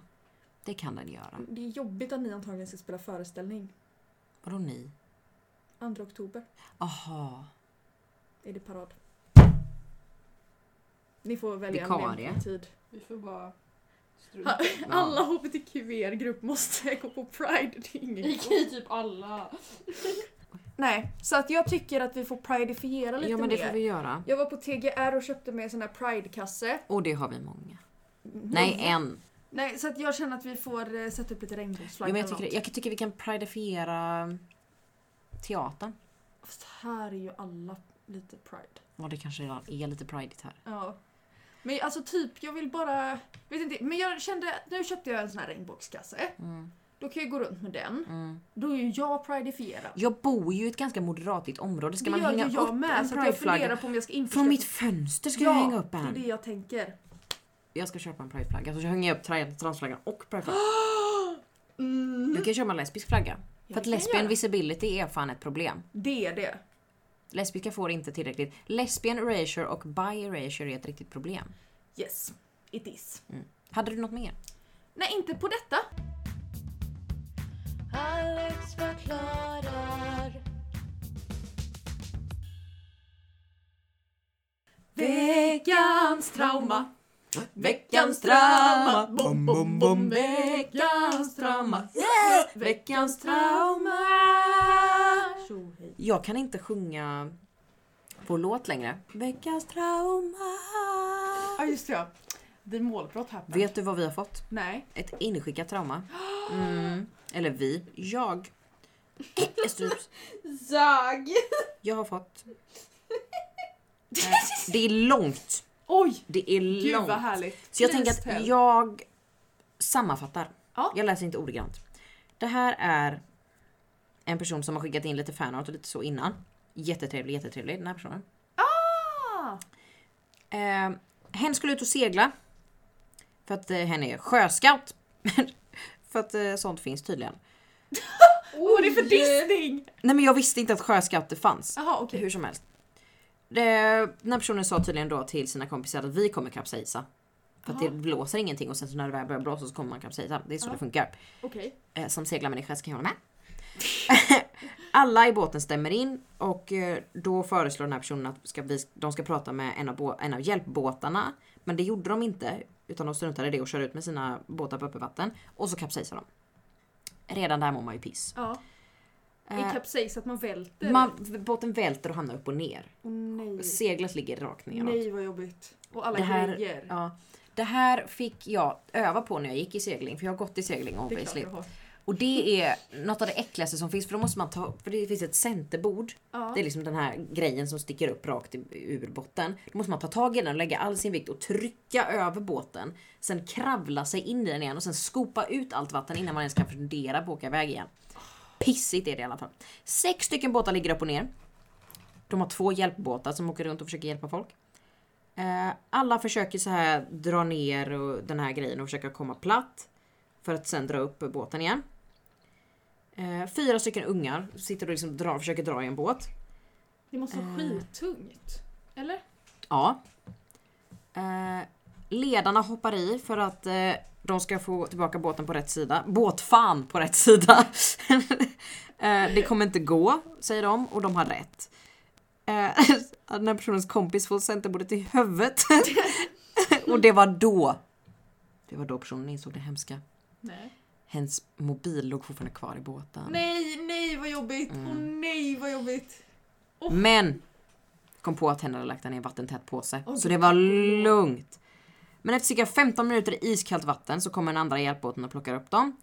C: Det kan den göra.
A: Det är jobbigt att ni antagligen ska spela föreställning.
C: Vadå ni?
A: 2 oktober
C: Aha.
A: är det parad. Ni får välja
C: Vikarie.
A: en lämplig tid.
B: Vi får bara...
A: Ha-
C: Ja.
A: Alla
C: E
A: hbtqr-grupp måste gå på pride. Det är ingen...
B: Gick i typ alla.
A: Nej, så att jag tycker att vi får prideifiera lite
C: Ja men det
A: mer.
C: får vi göra.
A: Jag var på TGR och köpte mig en sån här pride-kasse. Mm.
C: Och det har vi många. Nej eh. en.
A: Nej, så att jag känner att vi får eh, sätta upp lite
C: Jo,
A: regnbågsflagga.
C: men jag,
A: eller
C: tycker,
A: något.
C: jag tycker vi kan prideifiera teatern.
A: Fast här är ju alla lite pride.
C: Ja det kanske redan är lite pridigt här.
A: Ja. Men alltså typ, jag vill bara... Vet inte, men jag kände att nu köpte jag en sån här regnbågskasse.
C: Mm,
A: Då kan jag gå runt med den.
C: mm.
A: Då är ju jag prideifierad.
C: Jag bor ju i ett ganska moderatigt område. Ska
A: det
C: man
A: gör
C: hänga
A: ju jag
C: upp
A: med,
C: en
A: så att jag funderar
C: prideflagga?
A: på om jag ska införskaffa...
C: Från mitt fönster ska
A: ja,
C: jag hänga upp
A: det är det
C: en.
A: jag tänker.
C: Jag ska köpa en prideflagga. Så jag hänger upp tra- transflaggan och prideflaggan. Jag kan köpa en lesbisk flagga. För att
A: Mm. Jag kan
C: lesbian
A: göra-
C: visibility är fan ett problem.
A: Det är det.
C: Lesbiska får inte tillräckligt. Lesbian erasure och bi erasure är ett riktigt problem.
A: Yes, it is.
C: Hade du något mer?
A: Nej, inte på detta.
D: Alex förklarar.
A: Veckans trauma.
C: Veckans
A: trauma.
C: Bom, bom, bom.
A: Veckans trauma.
C: Veckans
A: trauma.
C: Jag kan inte sjunga vår låt längre. Veckans trauma.
A: Ja, just det. Ja. Det är målbrott här.
C: Vet du vad vi har fått?
A: Nej.
C: Ett inskickat trauma. Mm. Eller vi. Jag. Jag stryps.
B: Jag!
C: Jag har fått. Eh, Det är långt.
A: Oj!
C: Det är
A: Gud
C: långt.
A: vad härligt.
C: Så jag
A: Please
C: tänker att
A: tell.
C: jag sammanfattar.
A: Ja.
C: Jag läser inte ordagrant. Det här är en person som har skickat in lite fanart och lite så innan. Jättetrevlig, jättetrevlig den här personen.
A: Ah,
C: Eh, hen skulle ut och segla. För att eh, hen är sjöscout. för att eh, sånt finns tydligen.
A: Vad är det för dissning?
C: Nej men jag visste inte att sjöscouter fanns.
A: Jaha Ah, okej.
C: Hur som helst. Det, den här personen sa tydligen då till sina kompisar att vi kommer kapsejsa. För att det
A: Ja.
C: blåser ingenting och sen så när det väl börjar blåsa så kommer man kapsejsa. Det är så
A: Ja.
C: det funkar.
A: Okej.
C: eh, som seglarmänniska så kan jag hålla med. Alla i båten stämmer in och eh, då föreslår den här personen att ska vi, de ska prata med en av, bå- en av hjälpbåtarna. Men det gjorde de inte utan de struntade i det och kör ut med sina båtar på öppenvatten och så kapsejsar de. Redan där mår man ju piss.
A: Ja.
C: Eh,
A: I kapsejs att man välter.
C: man, båten välter och hamnar upp och ner.
A: Åh, nej.
C: Seglet ligger rakt neråt.
A: Mm. Nej vad jobbigt. Och alla
C: Det här-
A: grejer.
C: Ja, det här fick jag öva på när jag gick i segling för jag har gått i segling
A: det är klart
C: obviously.
A: du har.
C: Och det är något av det äckligaste som finns för då måste man ta, för det finns ett centerbord.
A: Ja.
C: Det är liksom den här grejen som sticker upp rakt i- ur botten. Då måste man ta tag i den och lägga all sin vikt och trycka över båten. Sen kravla sig in i den igen och sen skopa ut allt vatten innan man ens kan fundera på att åka iväg igen. Pissigt är det i alla fall. Sex stycken båtar ligger upp och ner. De har två hjälpbåtar som åker runt och försöker hjälpa folk. Eh, Alla försöker så här dra ner och den här grejen och försöka komma platt. För att sen dra upp båten igen. Eh, Fyra stycken ungar sitter och liksom drar, försöker dra i en båt.
A: Det måste vara
C: Eh.
A: skittungt. Eller?
C: Ja. Eh, ledarna hoppar i för att eh, de ska få tillbaka båten på rätt sida. Båtfan på rätt sida. eh, det kommer inte gå, säger de och de har rätt. Eh, den här personens kompis får centerbordet i huvudet. och det var då. Det var då personen insåg det hemska.
A: Nej.
C: Hens mobil låg fortfarande kvar i båten.
A: Nej, nej vad jobbigt. Åh
C: Mm.
A: nej vad jobbigt.
C: Men kom på att hen hade lagt den i en vattentät påse.
A: Åh,
C: så det var lugnt. Men efter cirka 15 minuter i iskallt vatten så kommer den andra hjälpbåten och plockar upp dem.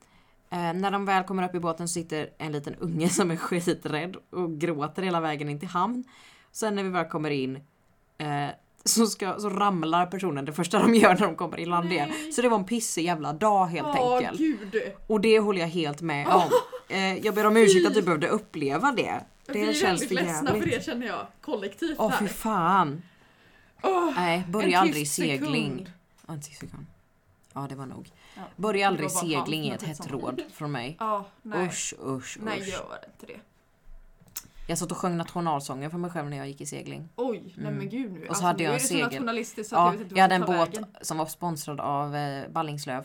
C: Eh, när de väl kommer upp i båten så sitter en liten unge som är skiträdd och gråter hela vägen in till hamn. Sen när vi väl kommer in eh, så, ska, så ramlar personen det första de gör när de kommer i land igen. Så det var en pissig jävla dag helt
A: Ja,
C: enkelt.
A: gud.
C: Och det håller jag helt med om. Eh, jag ber om ursäkt att du behövde uppleva det.
A: vi
C: Det
A: är
C: känns
A: väldigt
C: för
A: ledsna
C: jävligt.
A: för det känner jag. Kollektivt
C: Åh fy
A: här.
C: fan.
A: Åh,
C: Nej,
A: en
C: börja
A: tyst
C: aldrig i segling.
A: sekund.
C: Ja, en tyst sekund. Ja, det var nog.
A: Ja.
C: Börja aldrig i
A: Det var bara
C: segling är
A: halvt,
C: ett
A: men
C: hett
A: skitsamma.
C: råd från mig.
A: Ja, nej.
C: Usch, usch,
A: Nej,
C: usch.
A: gör inte det.
C: Jag satt och sjöng nationalsången för mig själv när jag gick i segling.
A: Oj, nej
C: Mm.
A: men gud nu. Alltså,
C: Och så hade jag
A: nu
C: en
A: är det så
C: segel.
A: nationalistiskt så att jag
C: Ja,
A: vet inte
C: jag hade en
A: vart jag ska ta
C: båt
A: vägen.
C: som var sponsrad av eh, Ballingslöv.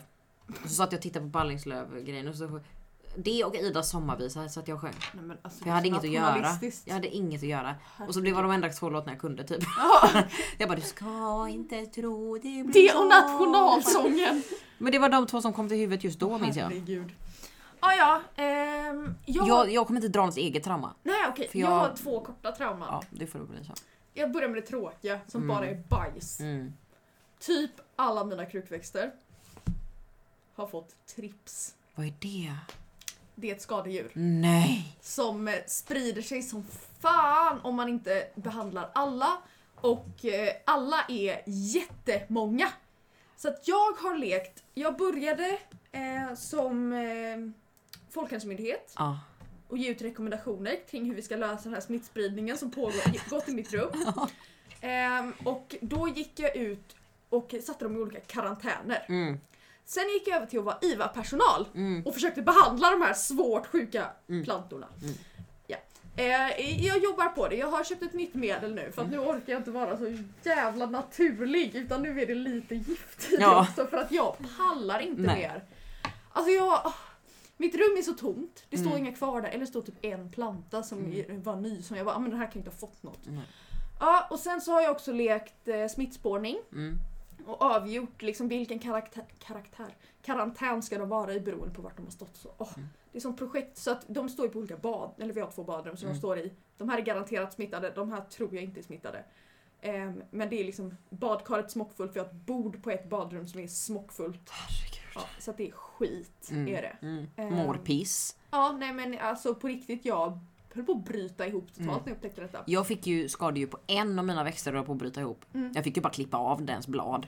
C: Och så satt jag och tittade på Ballingslöv-grejen och så sjöng- det och Idas sommarvisa så att jag och sjöng.
A: Nej, men alltså,
C: För jag hade
A: det är
C: inget
A: så
C: att göra.
A: nationalistiskt.
C: Jag hade inget att göra. Och så det var de enda två låtarna jag kunde typ. jag bara du ska inte tro det blir
A: Det och
C: jag."
A: nationalsången!
C: Men det var de två som kom till huvudet just då minns jag.
A: Herregud. Ah, ja, ehm, jag,
C: jag. Jag kommer inte dra något eget trauma.
A: Nej okej,
C: för
A: jag...
C: jag-
A: har två korta trauman.
C: Ja, det får du bli så.
A: Jag börjar med det tråkiga som
C: Mm.
A: bara är bajs.
C: Mm.
A: Typ alla mina krukväxter har fått trips.
C: Vad är det?
A: Det är ett skadedjur
C: Nej!
A: som eh, sprider sig som fan om man inte behandlar alla. Och eh, alla är jättemånga. Så att jag har lekt, jag började eh, som eh, Folkhälsomyndighet
C: Ja.
A: och ge ut rekommendationer kring hur vi ska lösa den här smittspridningen som pågått i mitt rum. Ehm, och då gick jag ut och satte dem i olika karantäner.
C: Mm.
A: Sen gick jag över till att vara IVA-personal
C: Mm.
A: och försökte behandla de här svårt sjuka
C: Mm.
A: plantorna.
C: Mm.
A: Ja. Eh, jag jobbar på det, jag har köpt ett nytt medel nu för att
C: Mm.
A: nu orkar jag inte vara så jävla naturlig utan nu är det lite gift i det
C: Ja.
A: också för att jag pallar inte
C: Nej.
A: mer. Alltså jag... åh, Mitt rum är så tomt, det står
C: Mm.
A: inga kvar där eller det står typ en planta som var ny som jag bara, ah, men den här kan ju inte ha fått något.
C: Nej.
A: Ja, och sen så har jag också lekt eh, smittspårning
C: Mm.
A: och avgjort liksom vilken karaktär, karaktär, karantän ska de vara i beroende på vart de har stått. Så, åh,
C: Mm.
A: Det är som projekt så att de står ju på olika bad, eller vi har två badrum som
C: Mm.
A: de står i. De här är garanterat smittade, de här tror jag inte är smittade. Ehm, men det är liksom badkaret smockfullt, vi har ett bord på ett badrum som är smockfullt.
C: Herregud.
A: Ja, så att det är skit,
C: Mm.
A: är det.
C: Mm.
A: Ehm,
C: Mår piss.
A: Ja, nej men alltså på riktigt jag höll på att bryta ihop totalt
C: Mm.
A: när jag upptäckte detta.
C: Jag fick ju skadedjur på en av mina växter och höll på att bryta ihop.
A: Mm.
C: Jag fick ju bara klippa av dens blad.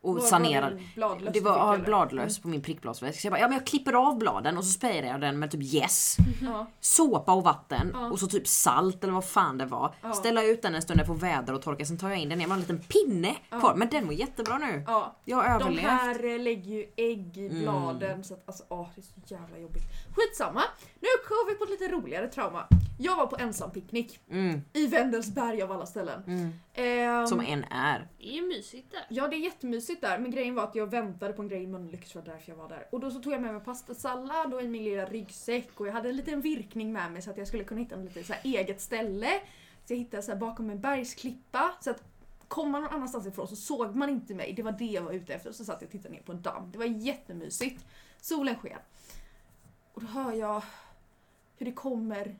C: Och
A: Vad var
C: sanera.
A: det, bladlöss
C: Det
A: du fick,
C: var ja,
A: eller?
C: bladlös på min prickblåsväxt. Så jag bara, ja men jag klipper av bladen och så sprayar jag den med typ yes.
A: Ja.
C: såpa och vatten
A: Ja.
C: och så typ salt eller vad fan det var.
A: Ja.
C: Ställa ut den en stund, den får väder och torka, sen tar jag in den igen. Jag har en liten pinne
A: Ja.
C: kvar. Men den mår jättebra nu.
A: Ja,
C: Jag har
A: De
C: överlevt.
A: här eh, lägger ju ägg i
C: Mm.
A: bladen så att alltså, åh, det är så jävla jobbigt. Skitsamma, nu kommer vi på ett lite roligare trauma. Jag var på ensampicknick
C: Mm,
A: i Vendelsberg av alla ställen.
C: mm.
A: Ehm,
C: Som en är.
B: Det är ju mysigt där.
A: Ja det är jättemysigt där men grejen var att jag väntade på en grej i Mölnlycke så det var därför jag var där. Och då så tog jag med mig pastasallad och en min lilla ryggsäck och jag hade en liten virkning med mig så att jag skulle kunna hitta en lite så här eget ställe. Så jag hittade så här bakom en bergsklippa så att kom man någon annanstans ifrån så såg man inte mig. Det var det jag var ute efter. Så satt jag och tittade ner på en damm. Det var jättemysigt. Solen sken. Och då hör jag hur det kommer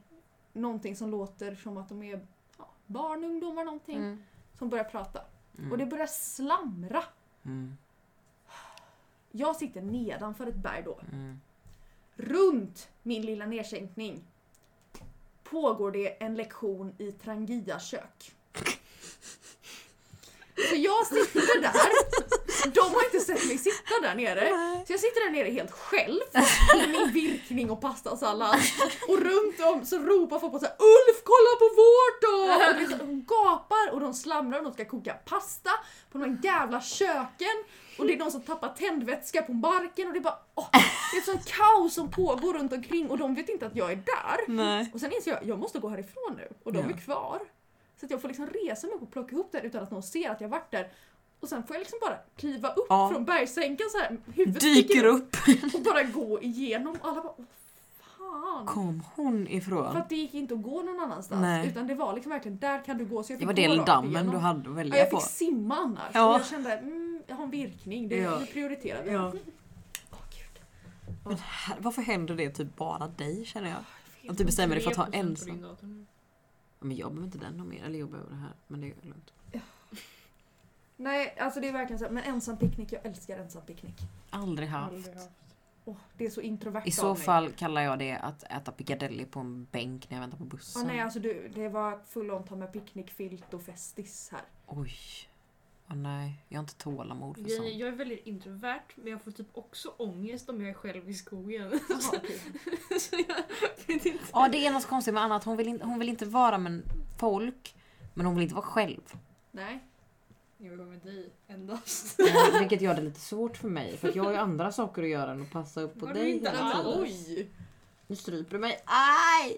A: någonting som låter som att de är ja, barn, ungdomar någonting
C: Mm.
A: som börjar prata.
C: Mm.
A: Och det börjar slamra.
C: Mm,
A: Jag sitter nedanför ett berg då.
C: mm,
A: Runt min lilla nedsänkning pågår det en lektion i Trangia-kök. Så jag sitter där. De har inte sett mig sitta där nere. Så jag sitter där nere helt själv med min virkning och pastasallad. Och runt om så ropar folk på så här, Ulf kolla på vårt då! Och det, är så- de gapar och de slamrar och de ska koka pasta på de här jävla köken. Och det är någon som tappar tändvätska på marken och det är bara åh, Det är ett sånt kaos som pågår runt omkring och de vet inte att jag är där.
C: Nej.
A: Och sen inser jag jag måste gå härifrån nu och de
C: Ja.
A: är kvar. Så att jag får liksom resa mig upp och plocka ihop den utan att någon ser att jag varit där. Och sen får jag liksom bara kliva upp
C: Ja.
A: från bergsänkan så här, huvudet
C: Dyker upp.
A: och bara gå igenom. Och alla bara Åh, fan.
C: Kom hon
A: För
C: ifrån?
A: att det gick inte att gå någon annanstans.
C: Nej.
A: Utan det var liksom verkligen där kan du gå. Så jag
C: Det
A: fick
C: var
A: gå
C: den
A: rakt
C: dammen
A: igenom.
C: du hade att
A: Ja,
C: välja
A: jag
C: på.
A: fick simma annars.
C: Ja.
A: Och jag kände mm, jag har en virkning. Det
C: Ja.
A: ja. prioriterar vi.
C: Ja.
A: Åh, gud.
C: Här- Varför händer det typ bara dig känner jag?
A: Jag
C: Att du bestämmer dig för att ha
B: 3% på
C: ensam.
B: din dator nu.
C: Ja, Men jag behöver inte den någon mer. Eller jag behöver det här. Men det är lugnt.
A: Nej, alltså det är verkligen så här, men ensam picknick, jag älskar ensam picknick.
C: Aldrig haft.
B: Aldrig haft.
A: Åh, det är så introvert
C: I så
A: av mig.
C: fall kallar jag det att äta piccadilly på en bänk när jag väntar på
A: Ja, nej,
C: bussen.
A: alltså du, det var full on ta med picknickfilt och festis här.
C: Oj. Åh nej, jag har inte tålamod för
B: Grejen är,
C: sånt.
B: Jag är väldigt introvert men jag får typ också ångest om jag är själv i skogen.
A: Jaha, okej.
B: Så jag vet inte.
C: Ja det är något konstigt med Anna, att hon vill, inte, hon vill inte vara med folk, men hon vill inte vara själv.
A: Nej.
B: Jag vill vara med dig endast.
C: Eh, Vilket gör det lite svårt för mig, för att jag har ju andra saker att göra än att passa upp på
B: Var
C: dig
B: du inte
C: hela
A: Men
B: alls?
C: tiden.
A: oj!
C: Nu stryper du mig. Aj!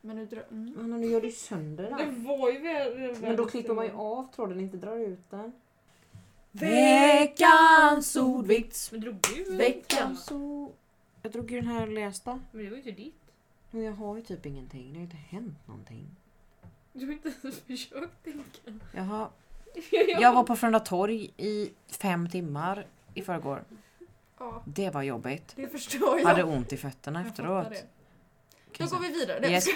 A: Men nu drar... Mm.
C: Anna nu gör du sönder
B: Det
C: den.
B: var ju väl...
C: Men då klipper man ju av tråden, inte drar ut den.
A: Veckans
C: ordvits.
B: Men drog du?
A: Veckans-
C: Så, jag drog ju den här lästa.
B: Men det var ju inte ditt.
C: Men jag har ju typ ingenting, det har inte hänt någonting.
B: Du har inte ens försökt tänka.
C: Jaha. Jag var på Frölunda torg i fem timmar i förrgår.
A: Ja,
C: Det var jobbigt.
A: det förstår jag.
C: Hade ont i fötterna
A: Jag
C: efteråt.
A: fattar det.
C: Kan
A: Då
C: jag
A: går
C: säga.
A: vi vidare. Det-
C: Yes.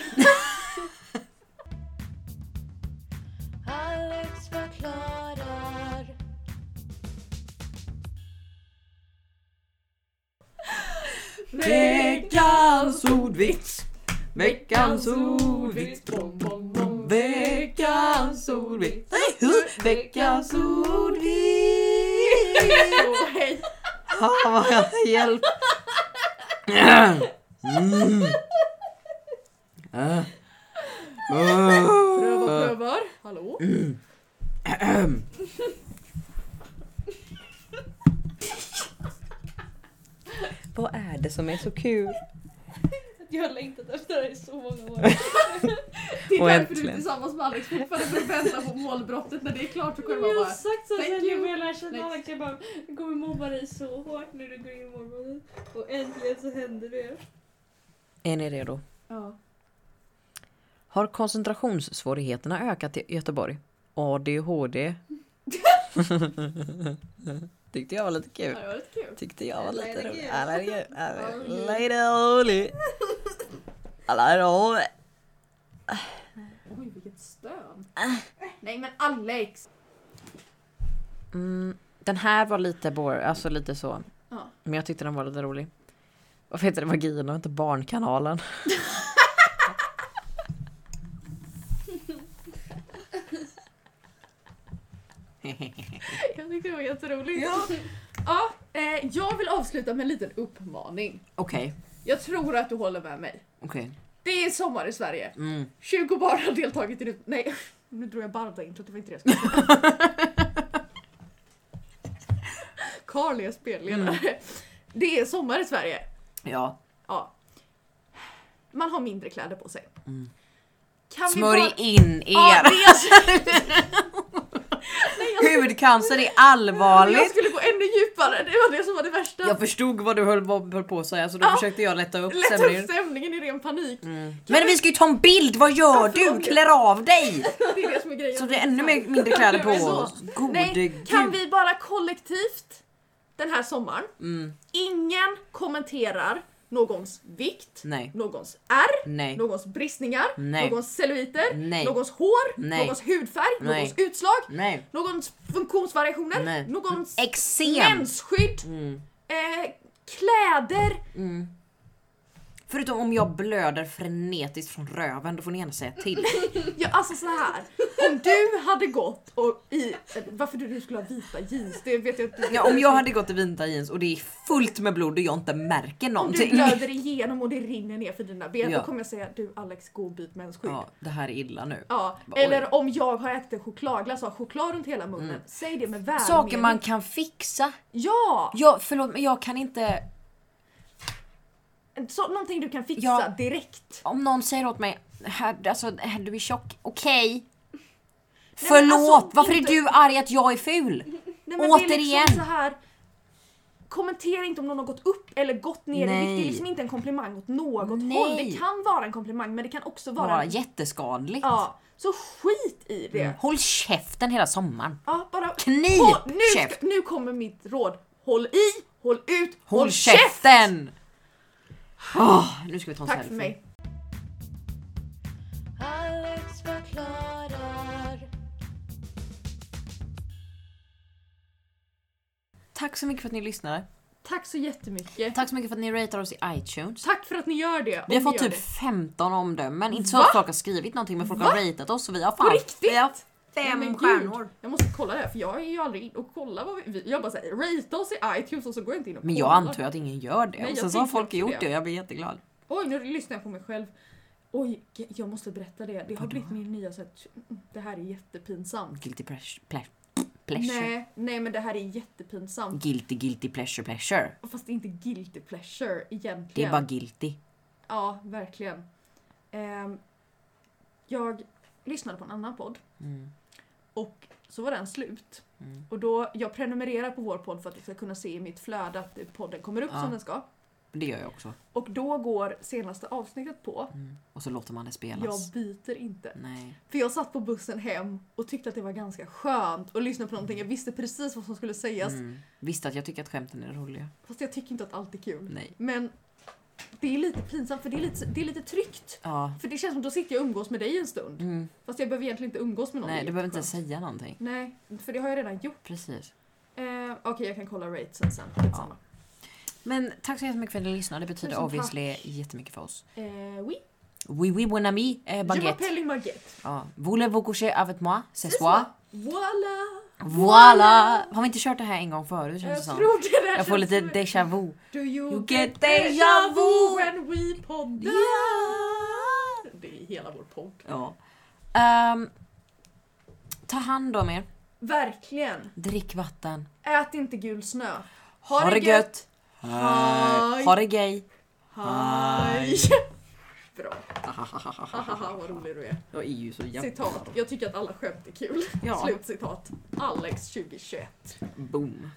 D: Alex förklarar.
C: Veckans ordvits! Veckans ordvits!
B: Bom, bom, bom.
C: Veckans ordvits! Nej, hu! Veckans ordvits!
A: Åh, hej.
C: Ah, vad jag- Hjälp! Mm. Äh. Mm.
A: Prövar,
C: Åh.
A: prövar. Hallå?
C: Vad är det som är så kul?
B: Jag har längtat efter det här i så många år.
A: Det är
C: Och
A: därför du är
C: äntligen.
A: tillsammans med Alex fortfarande för att vänta på målbrottet. När det är klart så kommer
B: Men
A: man
B: jag
A: bara...
B: har sagt så här
A: Thank
B: sen jag
A: you.
B: började lära känna
A: Next.
B: Alex. Jag bara, jag kommer mobba dig så hårt när du går in i morgonen. Och äntligen så hände det.
C: Är ni redo?
A: Ja.
C: Har koncentrationssvårigheterna ökat i Göteborg? ADHD? Tyckte jag var lite
A: Ja,
C: kul.
A: det var lite kul.
C: Tyckte jag var lite
B: Allergi.
C: rolig. Allergi. Allergi. Allergi.
A: Oj, vilket stön. Nej men Alex!
C: Mm, den här var lite bor, alltså lite så.
A: Ja.
C: Men jag tyckte den var lite rolig. Varför heter det Vagin och inte Barnkanalen?
A: Jag tyckte det var jätteroligt. Ja. Ja, eh, jag vill avsluta med en liten uppmaning.
C: Okej,
A: Jag tror att du håller med mig.
C: okej.
A: Det är sommar i Sverige.
C: Mm.
A: 20 barn har deltagit i det. Nej, nu drog jag Barda-introt. Det var inte det jag skulle säga. Carl är spelledare.
C: Mm.
A: Det är sommar i Sverige.
C: Ja.
A: Ja. Man har mindre kläder på sig. Kan vi
C: Mm. Smörj
A: bara-
C: in
A: Ja,
C: er!
A: det är... Nej, jag skulle-
C: Hudcancer är
A: Jag
C: allvarligt!
A: skulle gå ännu djupare, det var det som var det värsta.
C: Jag förstod vad du höll, vad du höll på att säga så då
A: Ja.
C: försökte jag lätta upp
A: Lätta
C: stämningen.
A: upp stämningen i ren panik.
C: Men vi ska ju ta en bild! Vad gör du? Klär av dig!
A: Det är det som är grejen.
C: Så det är ännu mer, mindre kläder på
A: Det är så.
C: oss. Gode
A: Nej,
C: gud.
A: kan vi bara kollektivt den här sommaren,
C: Mm.
A: ingen kommenterar någons vikt,
C: Nej,
A: någons ärr,
C: nej,
A: någons bristningar,
C: Nej.
A: någons celluliter,
C: Nej.
A: någons hår,
C: Nej.
A: någons hudfärg,
C: Nej.
A: någons utslag,
C: nej.
A: någons funktionsvariationer,
C: Nej.
A: någons
C: Eksem!
A: mensskydd,
C: Mm.
A: eh, kläder.
C: Mm. Förutom om jag blöder frenetiskt från röven, då får ni gärna säga till.
A: Ja, alltså så här. Om du hade gått och i... eh, Varför du nu skulle ha vita jeans, det vet jag inte.
C: Ja, om jag hade gått i vinta jeans och det är fullt med blod och jag inte märker
A: Om du
C: någonting.
A: blöder igenom och det rinner ner för dina ben,
C: Ja.
A: då kommer jag säga du Alex, gå och byt mensskydd. Ja.
C: Ja, det här är illa nu. Oj. Mm.
A: Eller om jag har ätit en chokladglass och har choklad runt hela munnen, säg det med välmening.
C: Saker man kan fixa.
A: Ja!
C: Jag, förlåt men jag kan inte...
A: Så, någonting du kan fixa
C: Ja.
A: direkt.
C: Om någon säger åt mig, här, alltså, här, du är tjock, okej.
A: men
C: Förlåt,
A: alltså,
C: varför
A: inte-
C: är du arg att jag är ful?
A: Nej, men Det är
C: Återigen.
A: liksom så här, kommentera inte om någon har gått upp eller gått ner i vikt. Det
C: Nej.
A: är liksom inte en komplimang åt något
C: Nej.
A: håll. Det kan vara en komplimang men det kan också vara
C: Bara
A: en
C: jätteskadligt.
A: Ja, så skit i det.
C: Mm. Håll käften hela sommaren.
A: Ja, bara...
C: Knip
A: Håll- nu, ska-
C: käft.
A: nu kommer mitt råd. Håll i, håll ut, håll,
C: Håll, käften! Åh, nu ska vi ta en
A: Tack för
C: selfie.
A: mig.
D: Alex förklarar.
C: Tack så mycket för att ni lyssnade.
A: Tack så jättemycket.
C: Tack så mycket för att ni ratar oss i iTunes.
A: Tack för att ni gör det.
C: Vi har
A: Om
C: fått
A: ni gör
C: typ
A: det.
C: 15 omdömen. Inte så
A: Va?
C: att folk har skrivit någonting men folk har ratat oss och vi har fan...
A: På riktigt?
C: Vi har
A: Nej, men
C: fem
A: gud.
C: stjärnor.
A: Jag måste kolla det här, för jag är ju aldrig in och kollar vad vi... Jag bara säger rate oss i iTunes och så går jag inte in och
C: Men jag
A: kollar.
C: antar att ingen gör det.
A: Nej, jag
C: och sen så har
A: tänker
C: folk
A: också
C: gjort
A: det.
C: det och jag blir jätteglad.
A: Oj, nu lyssnar jag på mig själv. Oj, ge- jag måste berätta det. Det har blivit min nya så här, Det här är jättepinsamt.
C: Guilty pleasure. ple- pleasure.
A: Nej, nej men det här är jättepinsamt.
C: Guilty, guilty pleasure, pleasure.
A: Fast det är inte guilty pleasure egentligen.
C: Det är bara guilty.
A: Ja, verkligen. Ehm, jag lyssnade på en annan podd
C: Mm.
A: och så var den slut.
C: Mm.
A: Och då, jag prenumererar på vår podd för att jag ska kunna se i mitt flöde att podden kommer upp
C: Ja.
A: som den ska.
C: Det gör jag också.
A: Och då går senaste avsnittet på.
C: Mm. Och så låter man det
A: Jag
C: spelas.
A: byter inte.
C: Nej.
A: För jag satt på bussen hem och tyckte att det var ganska skönt att lyssna på någonting. Jag visste precis vad som skulle sägas.
C: Mm. Visst att jag tycker att skämten är roliga.
A: Fast jag tycker inte att allt är kul.
C: Nej.
A: Men det är lite pinsamt för det är lite, det är lite tryggt.
C: Ja.
A: För det känns som att då sitter jag och umgås med dig en stund.
C: Mm.
A: Fast jag behöver egentligen inte umgås med någon.
C: Nej,
A: Det är
C: du behöver inte
A: jätteskönt.
C: säga någonting.
A: Nej, för det har jag redan gjort.
C: Precis.
A: Eh, Okej, jag kan kolla ratesen sen. Skitsamma.
C: Men tack så jättemycket för att ni lyssnade. Det betyder
A: Tusen
C: obviously
A: tack.
C: jättemycket för oss.
A: Eh, oui.
C: Oui, oui, bon ami, eh,
A: Je
C: baguette.
A: m'appelle une baguette.
C: Ja. Voulez-vous coucher avec moi? C'est soi.
A: Voilà!
C: Voila! Har vi inte kört det här en gång förut känns det
A: Jag
C: som?
A: trodde det här
C: Jag får
A: känns
C: lite
A: som-
C: déjà vu.
A: Do you,
C: You
A: get
C: get
A: deja
C: déjà
A: vu
C: vu
A: when we poddar? Det är hela vår podd.
C: Ja. Ehm, ta hand om er.
A: Verkligen.
C: Drick vatten.
A: Ät inte gul snö.
C: Ha, det gött!
A: Hej.
C: Ha det gay!
A: Hej! Bra. Hahaha vad rolig du är.
C: Jag är ju så jävla...
A: Citat. Jag tycker att alla skämt är kul.
C: Ja.
A: Slutcitat. Alex 2021.
C: Boom.